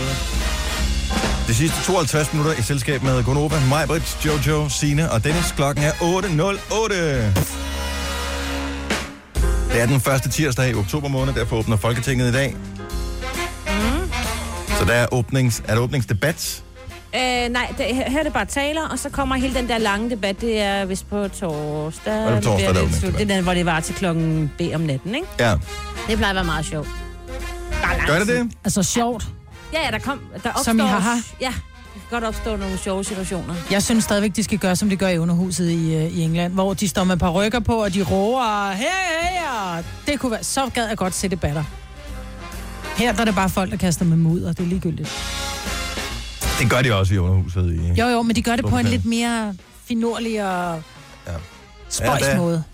[SPEAKER 1] de sidste 52 minutter i selskab med Gonova, Majbrit, Jojo, Sine og Dennis. Klokken er 8.08. Det er den første tirsdag i oktober måned, derfor åbner Folketinget i dag.
[SPEAKER 10] Mm.
[SPEAKER 1] Så der er, åbnings, er der åbningsdebat.
[SPEAKER 10] Øh, nej, det, her her er det bare taler, og så kommer hele den der lange debat. Det er vist på torsdag.
[SPEAKER 1] Er det på torsdag,
[SPEAKER 10] bliver
[SPEAKER 1] der er
[SPEAKER 10] det, slut. det er den, hvor det var til klokken B om natten, ikke?
[SPEAKER 1] Ja.
[SPEAKER 10] Det plejer at være meget sjovt. Der er lang
[SPEAKER 1] Gør det
[SPEAKER 10] tid.
[SPEAKER 1] det?
[SPEAKER 2] Altså sjovt.
[SPEAKER 10] Ja, ja, der kom... Der opstår,
[SPEAKER 2] Som i haha?
[SPEAKER 10] Ja, der kan godt opstå nogle sjove situationer.
[SPEAKER 2] Jeg synes stadigvæk, de skal gøre, som de gør i underhuset i, øh, i England, hvor de står med par rykker på, og de råber, hey, hey, og det kunne være, så gad jeg godt se debatter. Her der er det bare folk, der kaster med mudder, det er ligegyldigt.
[SPEAKER 1] Det gør de også i underhuset. I
[SPEAKER 2] Jo, jo, men de gør det på en
[SPEAKER 1] Storbritannien.
[SPEAKER 2] lidt mere finurlig og spøjs
[SPEAKER 1] der,
[SPEAKER 2] måde.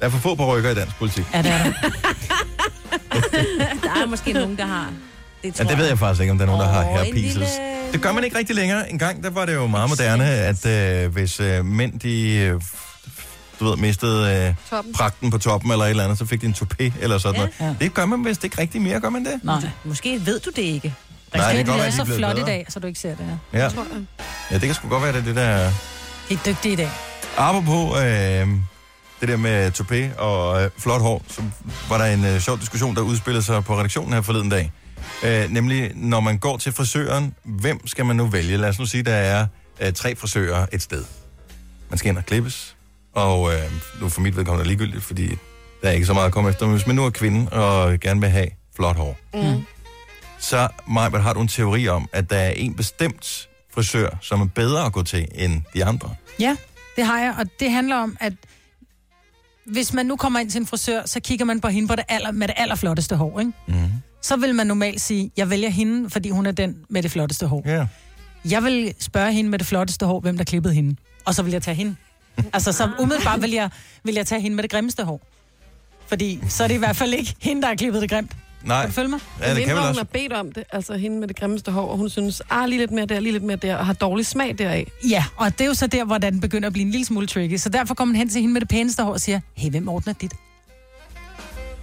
[SPEAKER 1] Der er for få parrykker i dansk politik.
[SPEAKER 2] Ja, det er der.
[SPEAKER 10] der er måske nogen, der har... Det
[SPEAKER 1] Ja, det ved jeg faktisk ikke, om der er nogen, der har
[SPEAKER 10] Åh, en
[SPEAKER 1] hairpieces.
[SPEAKER 10] lille-
[SPEAKER 1] Det gør man ikke rigtig længere. En gang, der var det jo meget moderne, at øh, hvis øh, mænd, de, øh, du ved, mistede øh,
[SPEAKER 10] Toppen.
[SPEAKER 1] pragten på toppen eller et eller andet, så fik de en toupé eller sådan noget. Ja. Det gør man vist ikke rigtig mere, gør man det?
[SPEAKER 2] Nej.
[SPEAKER 10] Måske ved du det ikke.
[SPEAKER 1] Nej, det kan
[SPEAKER 2] det
[SPEAKER 1] godt være,
[SPEAKER 2] er
[SPEAKER 1] de er
[SPEAKER 2] så
[SPEAKER 1] blevet
[SPEAKER 2] flot i
[SPEAKER 1] bedre.
[SPEAKER 2] dag, så du ikke ser det her.
[SPEAKER 1] Ja.
[SPEAKER 2] Tror jeg.
[SPEAKER 1] Ja, det kan sgu godt være, det er det der...
[SPEAKER 2] De er dygtige i dag.
[SPEAKER 1] Apropos øh, det der med toupé og øh, flot hår, så var der en øh, sjov diskussion, der udspillede sig på redaktionen her forleden dag. Øh, nemlig, når man går til frisøren, hvem skal man nu vælge? Lad os nu sige, der er øh, tre frisører et sted. Man skal ind og klippes, og øh, nu for mit vedkommende er det ligegyldigt, fordi der er ikke så meget at komme efter. Men hvis man nu er kvinde og gerne vil have flot hår,
[SPEAKER 16] Mm.
[SPEAKER 1] så Maja, har du en teori om, at der er en bestemt frisør, som er bedre at gå til end de andre?
[SPEAKER 2] Ja, det har jeg, og det handler om, at hvis man nu kommer ind til en frisør, så kigger man på hende på det aller, med det allerflotteste hår, ikke? Mm. Så vil man normalt sige, jeg vælger hende, fordi hun er den med det flotteste hår.
[SPEAKER 1] Ja.
[SPEAKER 2] Jeg vil spørge hende med det flotteste hår, hvem der klippede hende, og så vil jeg tage hende. Altså, så umiddelbart vil jeg, vil jeg tage hende med det grimmeste hår. Fordi så er det i hvert fald ikke hende, der har klippet det grimt.
[SPEAKER 1] Nej.
[SPEAKER 2] Kan du følge mig?
[SPEAKER 1] Ja, det kan vel
[SPEAKER 3] Mindre hun
[SPEAKER 1] også.
[SPEAKER 3] har bedt om det, altså hende med det grimmeste hår, og hun synes, ah, lige lidt mere der, lige lidt mere der, og har dårlig smag deraf.
[SPEAKER 2] Ja, og det er jo så der, hvor den begynder at blive en lille smule tricky. Så derfor kommer man hen til hende med det pæneste hår og siger, hey, hvem ordner dit?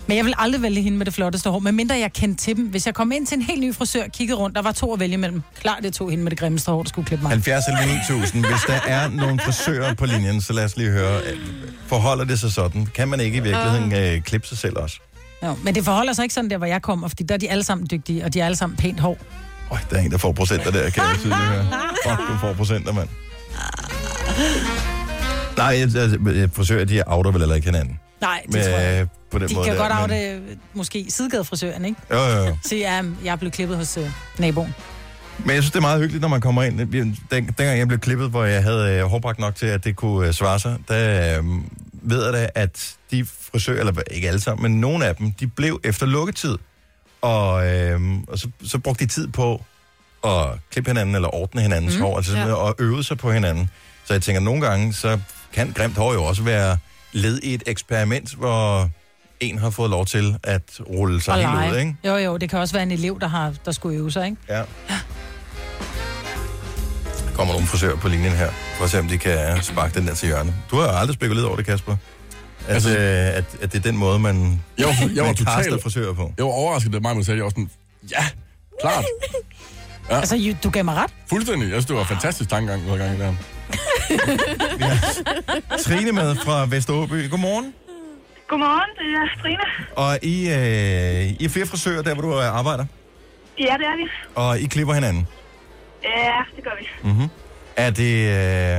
[SPEAKER 2] Men jeg vil aldrig vælge hende med det flotteste hår, medmindre jeg kendte til dem. Hvis jeg kom ind til en helt ny frisør, kiggede rundt, der var to at vælge imellem. Klart, det tog hende med det grimmeste hår, der skulle klippe mig.
[SPEAKER 1] 70 eller 9000. Hvis der er nogle frisører på linjen, så lad os lige høre. øh, Forholder det sig sådan? Kan man ikke i virkeligheden øh, klippe sig selv også?
[SPEAKER 2] Jo, men det forholder sig ikke sådan der, hvor jeg kommer, fordi der er de alle sammen dygtige, og de er alle sammen pænt hår.
[SPEAKER 1] Øj, der er en, der får procenter der, kan jeg tydeligt høre. Fuck, du får procenter, mand. Nej, jeg- altså, øh, frisører, de outer vel heller ikke hinanden.
[SPEAKER 2] Nej, det
[SPEAKER 1] Men,
[SPEAKER 2] tror jeg.
[SPEAKER 1] øh, På den
[SPEAKER 2] De
[SPEAKER 1] måde
[SPEAKER 2] kan
[SPEAKER 1] der,
[SPEAKER 2] godt af
[SPEAKER 1] men-
[SPEAKER 2] det, måske sidegadefrisøren, ikke?
[SPEAKER 1] Jo, jo, jo.
[SPEAKER 2] Sige, ja, jeg er blevet klippet hos øh, naboen.
[SPEAKER 1] Men jeg synes, det er meget hyggeligt, når man kommer ind. Vi- Den, dengang jeg blev klippet, hvor jeg havde øh, hårbragt nok til, at det kunne øh, svare sig, der øh, ved jeg da, at de frisører, eller ikke alle sammen, men nogle af dem, de blev efter lukketid. Og, øh, og så, så brugte de tid på at klippe hinanden, eller ordne hinandens mm, hår, altså, ja. og øve sig på hinanden. Så jeg tænker, nogle gange, så kan grimt hår jo også være led i et eksperiment, hvor en har fået lov til at rulle sig
[SPEAKER 2] Og
[SPEAKER 1] helt ud,
[SPEAKER 2] lege.
[SPEAKER 1] ikke?
[SPEAKER 2] Jo, jo, det kan også være en elev, der, har, der skulle øve sig, ikke?
[SPEAKER 1] Ja. Der kommer nogle frisører på linjen her, for at se, om de kan sparke den der til hjørne. Du har jo aldrig spekuleret over det, Kasper. At, altså, øh, at, at det er den måde, man,
[SPEAKER 7] Jeg var, jeg var
[SPEAKER 1] man caster
[SPEAKER 7] totalt...
[SPEAKER 1] frisører på.
[SPEAKER 7] Jeg var overrasket, da mig sagde, jeg var sådan, ja, klart. Ja.
[SPEAKER 2] Altså, you, du gav mig ret.
[SPEAKER 7] Fuldstændig. Jeg synes, det var en fantastisk tankegang, hver gang i der.
[SPEAKER 1] Trine med fra Vesteråby. Godmorgen.
[SPEAKER 16] Godmorgen, det er Trine.
[SPEAKER 1] Og I, øh, I er flere frisører, der hvor du øh, arbejder,
[SPEAKER 16] Ja, det er vi.
[SPEAKER 1] og I klipper hinanden.
[SPEAKER 16] Ja, det gør vi.
[SPEAKER 1] Mm-hmm. Er det...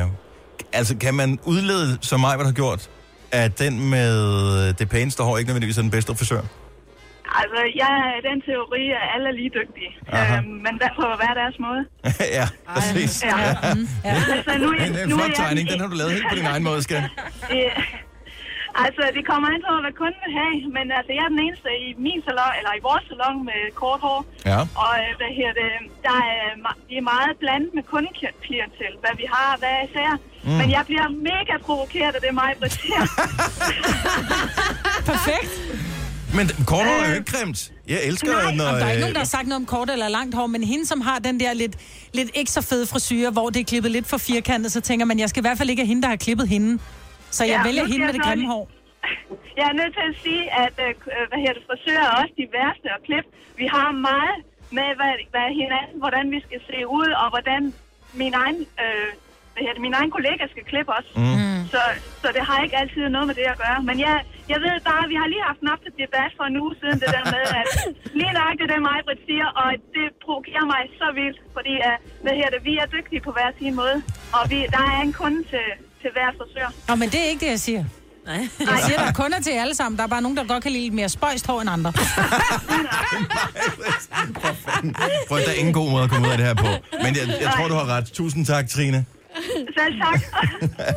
[SPEAKER 1] Øh, altså, kan man udlede, som mig har gjort, at den med det pæneste hår ikke nødvendigvis er den bedste frisør?
[SPEAKER 16] Altså, jeg er i den teori, at alle er lige dygtige.
[SPEAKER 1] Aha.
[SPEAKER 16] Øhm, men hvad på hver deres måde.
[SPEAKER 1] ja, præcis.
[SPEAKER 16] Ja. ja. Altså, nu, er-
[SPEAKER 1] Det er en
[SPEAKER 16] nu er
[SPEAKER 1] flot
[SPEAKER 16] jeg-
[SPEAKER 1] tegning. Den har du lavet helt på din egen måde, skat.
[SPEAKER 16] Ja. Altså, det kommer an på, hvad kunden vil have, men altså, jeg er den eneste i min salon, eller i vores salon med kort hår.
[SPEAKER 1] Ja.
[SPEAKER 16] Og øh, hvad her det, der er, ma- vi er meget blandet med kundeklientel, hvad vi har, hvad er især.
[SPEAKER 1] Mm.
[SPEAKER 16] Mm. Men jeg bliver mega provokeret af det, mig præsterer.
[SPEAKER 2] Perfekt.
[SPEAKER 1] Men kort hår er jo
[SPEAKER 16] Øh.
[SPEAKER 1] ikke grimt. Jeg elsker,
[SPEAKER 2] Nej,
[SPEAKER 1] når...
[SPEAKER 2] Nå, der er ikke
[SPEAKER 1] øh,
[SPEAKER 2] nogen, der har sagt noget om kort eller langt hår, men hende, som har den der lidt, lidt ikke så fede frisyrer, hvor det er klippet lidt for firkantet, så tænker man, jeg skal i hvert fald ikke have hende, der har klippet hende. Så jeg ja, vælger
[SPEAKER 16] nu
[SPEAKER 2] hende med
[SPEAKER 16] skal
[SPEAKER 2] det
[SPEAKER 16] jeg
[SPEAKER 2] grimme
[SPEAKER 16] så-
[SPEAKER 2] hår.
[SPEAKER 16] Jeg er nødt til at sige, at øh, k- øh, hvad her, det, frisører er også de værste at klippe. Vi har meget med hvad, hvad hinanden, hvordan vi skal se ud, og hvordan min egen, øh, hvad her, det, min egen kollega skal klippe os.
[SPEAKER 1] Mm.
[SPEAKER 16] Så, så det har ikke altid noget med det at gøre. Men jeg, jeg ved bare, at vi har lige haft en op til debat for en uge siden, det der med, at lige nok det der mig, Britt siger, og det provokerer mig så vildt, fordi øh, hvad her, det, vi er dygtige på hver sin måde, og vi, der er en kunde til, til hver frisør.
[SPEAKER 2] Nå, men det er ikke det, jeg siger. Nej. Jeg siger, der er kunder til alle sammen. Der er bare nogen, der godt kan lide lidt mere spøjst hår end andre.
[SPEAKER 1] Prøv, der er ingen god måde at komme ud af det her på. Men jeg, jeg tror, du har ret. Tusind tak, Trine.
[SPEAKER 16] Selv tak.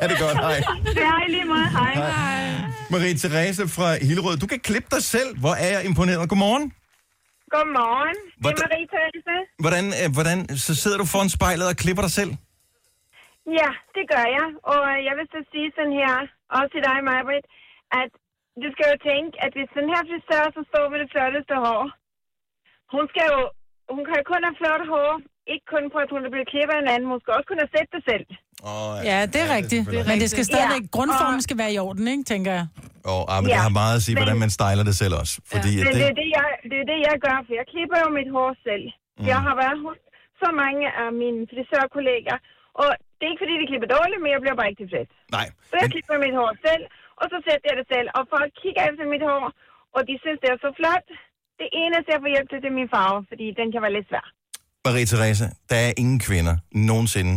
[SPEAKER 1] er det godt? Hej.
[SPEAKER 16] Det er i lige måde. Hej. Hej.
[SPEAKER 1] Marie Therese fra Hillerød. Du kan klippe dig selv. Hvor er jeg imponeret. Godmorgen.
[SPEAKER 17] Godmorgen. Det er
[SPEAKER 1] Hvordan-
[SPEAKER 17] Marie Therese.
[SPEAKER 1] Hvordan, øh, hvordan, så sidder du foran spejlet og klipper dig selv?
[SPEAKER 17] Ja, det gør jeg. Og øh, jeg vil så sige sådan her, også til dig, Majbrit, at du skal jo tænke, at hvis den her frisør så står med det flotteste hår, hun skal jo, hun kan jo kun have flot hår, ikke kun på, at hun er blevet klippet af en anden, hun skal også kunne have set det selv.
[SPEAKER 1] Åh,
[SPEAKER 2] Ja, det er rigtigt.
[SPEAKER 1] selvfølgelig
[SPEAKER 2] Men det skal
[SPEAKER 17] rigtigt.
[SPEAKER 2] stadigvæk...
[SPEAKER 17] Ja, og-
[SPEAKER 2] Grundformen skal være i orden, ikke, tænker jeg.
[SPEAKER 1] Og ah, men
[SPEAKER 17] Ja,
[SPEAKER 1] det har meget at sige,
[SPEAKER 17] men-
[SPEAKER 1] hvordan man styler det selv også. Fordi
[SPEAKER 17] Men
[SPEAKER 1] ja.
[SPEAKER 17] det
[SPEAKER 1] det,
[SPEAKER 17] er det, jeg, det er det, jeg gør, for jeg klipper jo mit hår selv. Mm. Jeg har været hos så mange af mine frisørkolleger, og det er ikke fordi, de klipper dårligt, men jeg bliver bare ikke tilfreds.
[SPEAKER 1] Nej.
[SPEAKER 17] Så jeg klipper mit hår selv, og så sætter jeg det selv, og folk kigger efter mit hår, og de synes, det er så flot. Det eneste, jeg får hjælp til, det er min farve, fordi den kan være lidt svær.
[SPEAKER 1] Marie Therese, der er ingen kvinder nogensinde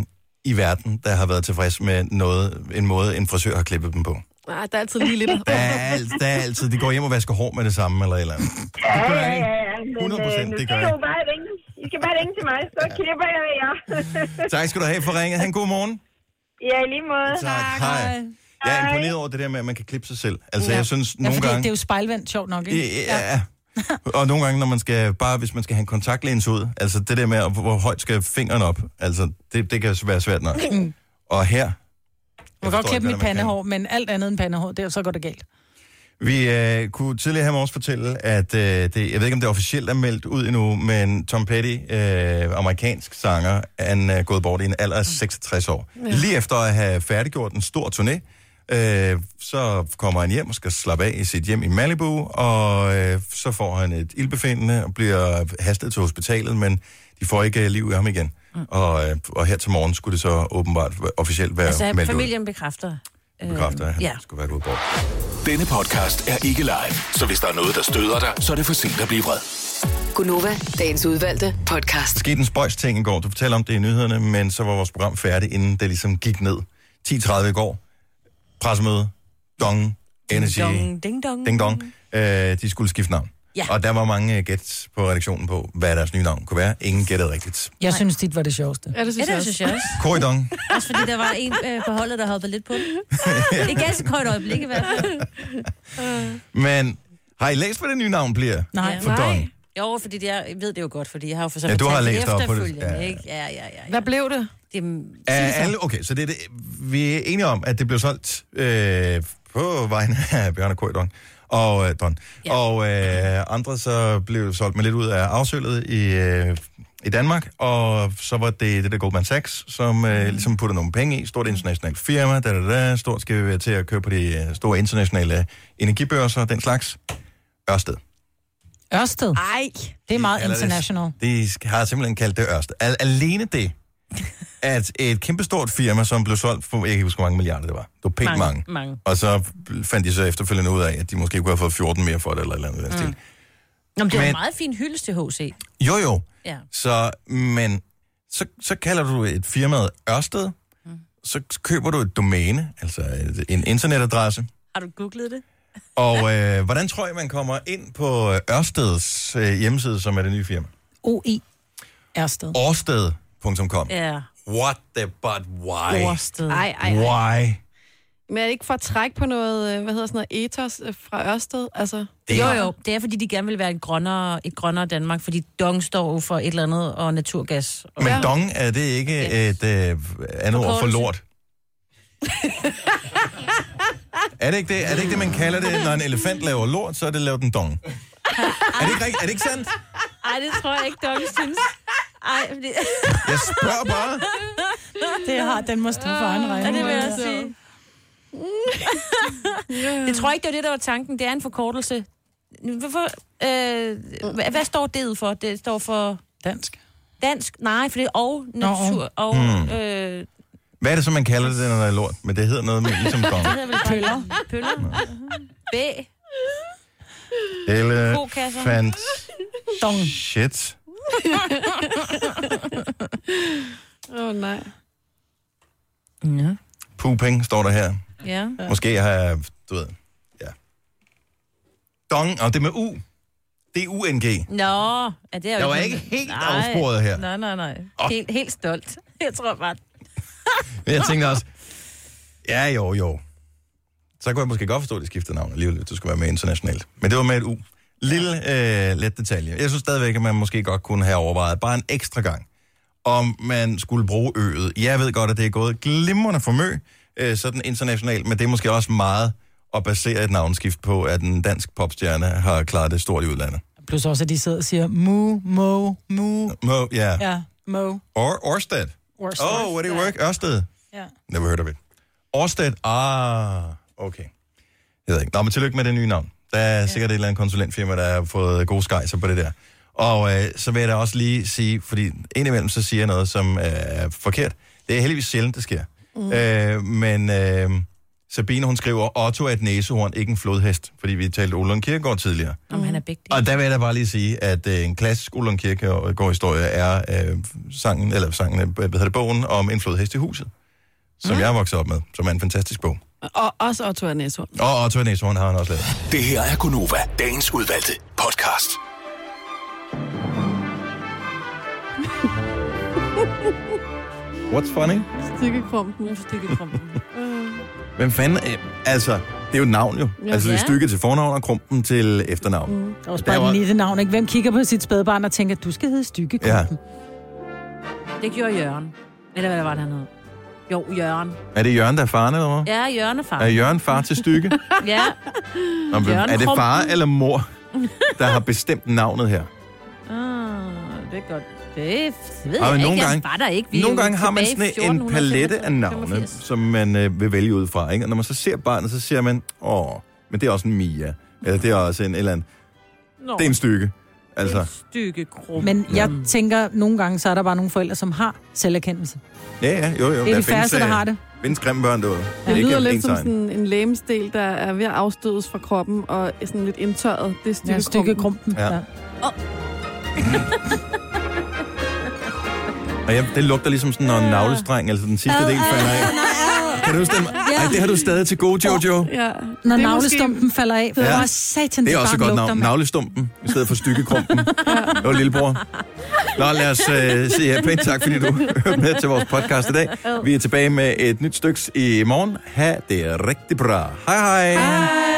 [SPEAKER 1] i verden, der har været tilfreds med noget, en måde, en frisør har klippet dem på.
[SPEAKER 3] Nej, Ah, der er altid lige lidt.
[SPEAKER 1] Der er, alt, der er altid, de går hjem og vasker hår med det samme, eller et eller andet.
[SPEAKER 17] Ja,
[SPEAKER 1] Det gør
[SPEAKER 17] ja,
[SPEAKER 1] jeg ikke.
[SPEAKER 17] ja, ja. Men,
[SPEAKER 1] 100%,
[SPEAKER 17] nu
[SPEAKER 1] det gør
[SPEAKER 17] skal I
[SPEAKER 1] jeg.
[SPEAKER 17] jo bare ringe. I skal bare ringe til mig, så klipper jeg jer.
[SPEAKER 1] Tak skal du have for ringet. Han god morgen.
[SPEAKER 17] ja, i lige måde.
[SPEAKER 1] Tak, hej. Jeg er imponeret over det der med, at man kan klippe sig selv. Altså, ja. jeg synes
[SPEAKER 2] ja,
[SPEAKER 1] nogle
[SPEAKER 2] fordi
[SPEAKER 1] gange...
[SPEAKER 2] det er jo spejlvendt, sjovt nok, ikke? Mm.
[SPEAKER 1] Ja. Og nogle gange, når man skal, bare hvis man skal have en kontaktlinse ud, altså det der med, at- hvor højt skal fingeren op, altså det, det kan være svært nok.
[SPEAKER 2] Mm.
[SPEAKER 1] Og her...
[SPEAKER 2] Jeg kan godt klippe mit pandehår, men alt andet end pandehår, det er så går det galt.
[SPEAKER 1] Vi øh, kunne tidligere her også fortælle, at øh, det, jeg ved ikke, om det officielt er meldt ud endnu, men Tom Petty, øh, amerikansk sanger, han er gået bort i en alder af 66 år.
[SPEAKER 18] Ja.
[SPEAKER 1] Lige efter at have færdiggjort en stor turné, øh, så kommer han hjem og skal slappe af i sit hjem i Malibu, og øh, så får han et ildbefindende og bliver hastet til hospitalet, men de får ikke øh, liv i ham igen.
[SPEAKER 4] Mm.
[SPEAKER 1] Og, øh, og her til morgen skulle det så åbenbart officielt være
[SPEAKER 4] Altså,
[SPEAKER 1] meldt ud.
[SPEAKER 4] familien bekræfter. øh,
[SPEAKER 1] Bekræfter, at han
[SPEAKER 4] ja.
[SPEAKER 1] skulle være gået bort.
[SPEAKER 6] Denne podcast er ikke live, så hvis der er noget, der støder dig, så er det for sent at blive vred.
[SPEAKER 5] Gunova, dagens udvalgte podcast.
[SPEAKER 1] Der skete en spøjs ting i går. Du fortalte om det i nyhederne, men så var vores program færdigt, inden det ligesom gik ned. 10.30 i går. Pressemøde. Dong. Energy.
[SPEAKER 4] Ding dong, ding dong.
[SPEAKER 1] Ding dong. Øh, de skulle skifte navn. Ja. Og der var mange øh, gæt på redaktionen på, hvad deres nye navn kunne være. Ingen gættede rigtigt.
[SPEAKER 2] Jeg Nej. synes, dit var det sjoveste.
[SPEAKER 3] Ja, det synes
[SPEAKER 4] ja,
[SPEAKER 3] jeg
[SPEAKER 4] det synes jeg også.
[SPEAKER 1] Korydong.
[SPEAKER 4] Også fordi der var en øh, på holdet, der hoppede lidt på den. Det gav så kort øjeblik i hvert fald.
[SPEAKER 1] Men har I læst, hvad det nye navn bliver? For Don.
[SPEAKER 4] Jo, fordi det, jeg ved det jo godt, fordi jeg har jo for så
[SPEAKER 1] Ja,
[SPEAKER 4] vidt
[SPEAKER 1] du har
[SPEAKER 4] talt
[SPEAKER 1] læst op på det.
[SPEAKER 4] efterfølgende,
[SPEAKER 1] Ja, ja.
[SPEAKER 4] Ikke? Ja, ja, ja, ja.
[SPEAKER 3] Hvad blev det?
[SPEAKER 4] Jamen,
[SPEAKER 1] Er alle, okay, så det er det, vi er enige om, at det blev solgt øh, på vegne af Bjørn og Korydong og øh, Don. Ja. Og øh, andre så blev det solgt med lidt ud af afsøllet i, øh, i Danmark, og så var det det der Goldman Sachs, som øh, ligesom puttede nogle penge i, stort internationalt firma, da, da, da, stort skal vi være til at købe på de øh, store internationale energibørser og den slags. Ørsted.
[SPEAKER 2] Ørsted?
[SPEAKER 10] Nej.
[SPEAKER 2] Det er meget
[SPEAKER 1] kalder det-
[SPEAKER 2] international.
[SPEAKER 1] De sk- har simpelthen kaldt det Ørsted. Al- alene det, at et kæmpestort firma, som blev solgt for, jeg kan ikke huske, hvor mange milliarder det var. Det var pænt mange. mange.
[SPEAKER 4] mange.
[SPEAKER 1] Og så fandt de så efterfølgende ud af, at de måske kunne have fået 14 mere for det, eller et eller andet. Mm. Stil.
[SPEAKER 4] Nå, men det var
[SPEAKER 1] Men-
[SPEAKER 4] en meget fin hyldest til HC.
[SPEAKER 1] Jo, jo.
[SPEAKER 4] Ja.
[SPEAKER 1] Så, men så, så kalder du et firma Ørsted, mm. så køber du et domæne, altså et- en internetadresse,
[SPEAKER 4] Har du googlet det?
[SPEAKER 1] og øh, hvordan tror jeg, man kommer ind på øh, Ørsteds øh, hjemmeside, som er det nye firma?
[SPEAKER 2] OI. Ørsted.
[SPEAKER 1] Ørsted.com.
[SPEAKER 4] Ja.
[SPEAKER 1] What the but why?
[SPEAKER 3] Ørsted. Ej, ej, ej.
[SPEAKER 1] Why?
[SPEAKER 3] Men er det ikke for at trække på noget, øh, hvad hedder sådan noget, ethos øh, fra Ørsted? Altså,
[SPEAKER 4] Det jo, jo. Det er, fordi de gerne vil være et grønnere, et grønnere Danmark, fordi Dong står jo for et eller andet og naturgas.
[SPEAKER 1] Men ja. dong, er det ikke et øh, andet ord for
[SPEAKER 4] Forkortelse.
[SPEAKER 1] lort? er, det ikke det? er det ikke det, man kalder det? Når en elefant laver lort, så er det lavet en dong. Er det ikke, rigtigt? er det ikke sandt?
[SPEAKER 4] Ej, det tror jeg ikke, Dong synes. Ej, det...
[SPEAKER 1] Jeg spørger bare.
[SPEAKER 2] Det har, den må stå for egen regning.
[SPEAKER 4] Ja, det vil jeg sige. det tror jeg ikke, det var det, der var tanken. Det er en forkortelse. Hvorfor, øh, hvad, hvad står det ud for? Det står for...
[SPEAKER 2] Dansk.
[SPEAKER 4] Dansk? Nej, for det er og natur. Og,
[SPEAKER 1] Hmm.
[SPEAKER 4] øh,
[SPEAKER 1] Hvad er det så, man kalder det, når der er lort? Men det hedder noget med ligesom dong.
[SPEAKER 4] det hedder vel pøller. Pøller. B. Kokasser.
[SPEAKER 1] Elefant.
[SPEAKER 2] Dong.
[SPEAKER 1] Shit.
[SPEAKER 3] Åh, oh, nej.
[SPEAKER 4] Ja.
[SPEAKER 1] Pooping står der her.
[SPEAKER 4] Ja.
[SPEAKER 1] Måske har jeg, du ved, ja. Dong, og det er med U. D-U-N-G.
[SPEAKER 4] Nå, ja, det er jo
[SPEAKER 1] Jeg var
[SPEAKER 4] noget-
[SPEAKER 1] ikke helt
[SPEAKER 4] nej.
[SPEAKER 1] afsporet her.
[SPEAKER 4] Nej, nej, nej.
[SPEAKER 1] Åh.
[SPEAKER 4] Helt, helt stolt. Jeg tror bare...
[SPEAKER 1] Men jeg tænkte også, ja jo jo, så kunne jeg måske godt forstå, at de skiftede navn alligevel, hvis det skulle være med internationalt. Men det var med et U. Lille øh, let detalje. Jeg synes stadigvæk, at man måske godt kunne have overvejet bare en ekstra gang, om man skulle bruge øget. Jeg ved godt, at det er gået glimrende for mø, øh, sådan internationalt, men det er måske også meget at basere et navnskift på, at en dansk popstjerne har klaret det stort i udlandet.
[SPEAKER 2] Plus også, at de sidder og siger, mu, mo, mu.
[SPEAKER 1] Mo, ja.
[SPEAKER 2] Ja, mo.
[SPEAKER 4] Mm.
[SPEAKER 1] Or, Orsted.
[SPEAKER 2] Ørsted.
[SPEAKER 1] Oh, what do you work? Ørsted.
[SPEAKER 2] Ja.
[SPEAKER 1] Never heard of it. Ørsted, ah, okay. Jeg ved ikke. Nå, men tillykke med det nye navn. Der er ja. sikkert et eller andet konsulentfirma, der har fået gode skejser på det der. Og øh, så vil jeg da også lige sige, fordi indimellem så siger jeg noget, som øh, er forkert. Det er heldigvis sjældent, det sker. Mm. Øh, men øh, Sabine, hun skriver, Otto er et næsehorn, ikke en flodhest. Fordi vi talte Olund Kirkegaard tidligere.
[SPEAKER 4] Om han er begge
[SPEAKER 1] Og der vil jeg da bare lige sige, at øh, en klassisk Ullum Kirkegård-historie er øh, sangen, eller sangen, øh, hvad hedder det, bogen om en flodhest i huset, som mm. jeg er vokset op med, som er en fantastisk bog.
[SPEAKER 3] Og også Otto Arnæsson.
[SPEAKER 1] Og Otto Næshorn har han også lavet.
[SPEAKER 6] Det her er Gunova, dagens udvalgte podcast.
[SPEAKER 1] What's funny?
[SPEAKER 3] Stykkekrumpen. Stykkekrumpen.
[SPEAKER 1] Hvem fanden? Øh, altså, det er jo et navn jo.
[SPEAKER 2] Ja.
[SPEAKER 1] Ja. Altså, det er
[SPEAKER 2] Ja.
[SPEAKER 1] stykket til fornavn og krumpen til efternavn. Mm.
[SPEAKER 2] Det er også
[SPEAKER 1] Der
[SPEAKER 2] bare
[SPEAKER 1] var-
[SPEAKER 2] et lille navn, ikke? Hvem kigger på sit spædbarn og tænker, du skal hedde Stykke?
[SPEAKER 1] Ja.
[SPEAKER 4] Det gjorde Jørgen. Eller hvad var det, han hed? Jo, Jørgen.
[SPEAKER 1] Er det Jørgen, der er faren, eller hvad?
[SPEAKER 4] Ja, Jørgen er far.
[SPEAKER 1] Er Jørgen far til stykke?
[SPEAKER 4] Ja.
[SPEAKER 1] Nå, men
[SPEAKER 4] Jørgen
[SPEAKER 1] er det far
[SPEAKER 4] Krumpen.
[SPEAKER 1] eller mor, der har bestemt navnet her?
[SPEAKER 4] Ah, det er godt. Det, det ved
[SPEAKER 1] Ej,
[SPEAKER 4] jeg
[SPEAKER 1] men
[SPEAKER 4] ikke.
[SPEAKER 1] nogle
[SPEAKER 4] Jeg
[SPEAKER 1] gange,
[SPEAKER 4] var der ikke. Vi er
[SPEAKER 1] nogle
[SPEAKER 4] jo
[SPEAKER 1] gange har man
[SPEAKER 4] tilbage i
[SPEAKER 1] sådan en
[SPEAKER 4] 1485.
[SPEAKER 1] palette af navne, som man øh, vil vælge ud fra. Ikke? Og når man så ser barnet, så ser man, åh, men det er også en Mia. Eller det er også en eller anden.
[SPEAKER 4] Nå.
[SPEAKER 1] Det er en stykke. Altså,
[SPEAKER 4] Stykke krum.
[SPEAKER 2] Men jeg tænker, nogle gange, så er der bare nogle forældre, som har selverkendelse.
[SPEAKER 1] ja, ja, jo, jo.
[SPEAKER 2] Det er de færreste, der har det.
[SPEAKER 1] Findes grimme børn derude.
[SPEAKER 3] Det
[SPEAKER 1] Ikke
[SPEAKER 3] lyder lidt som
[SPEAKER 1] ensartet.
[SPEAKER 3] sådan en lægemsdel, der er ved at afstødes fra kroppen og er sådan lidt indtørret. Det er stykkekrumpen.
[SPEAKER 2] stykkekrumpen,
[SPEAKER 1] Ja. ja. Og ja, det lugter ligesom sådan, når en navlestreng, altså den sidste del falder af. Kan du huske dem? Ej, det har du stadig til gode, Jojo.
[SPEAKER 2] Ja. Når
[SPEAKER 1] Det er
[SPEAKER 2] navlestumpen måske... falder af. Ja.
[SPEAKER 1] Ja.
[SPEAKER 2] Åh, satan,
[SPEAKER 1] Det er
[SPEAKER 2] det,
[SPEAKER 1] også et godt
[SPEAKER 2] barn lugter,
[SPEAKER 1] navn.
[SPEAKER 2] mand.
[SPEAKER 1] Navlestumpen i stedet for stykkekrumpen. Det var lillebror. Nå, lad os øh, sige her pænt tak, fordi du hørte med til vores podcast i dag. Vi er tilbage med et nyt stykke i morgen. Ha' det rigtig bra. Hej hej. hej.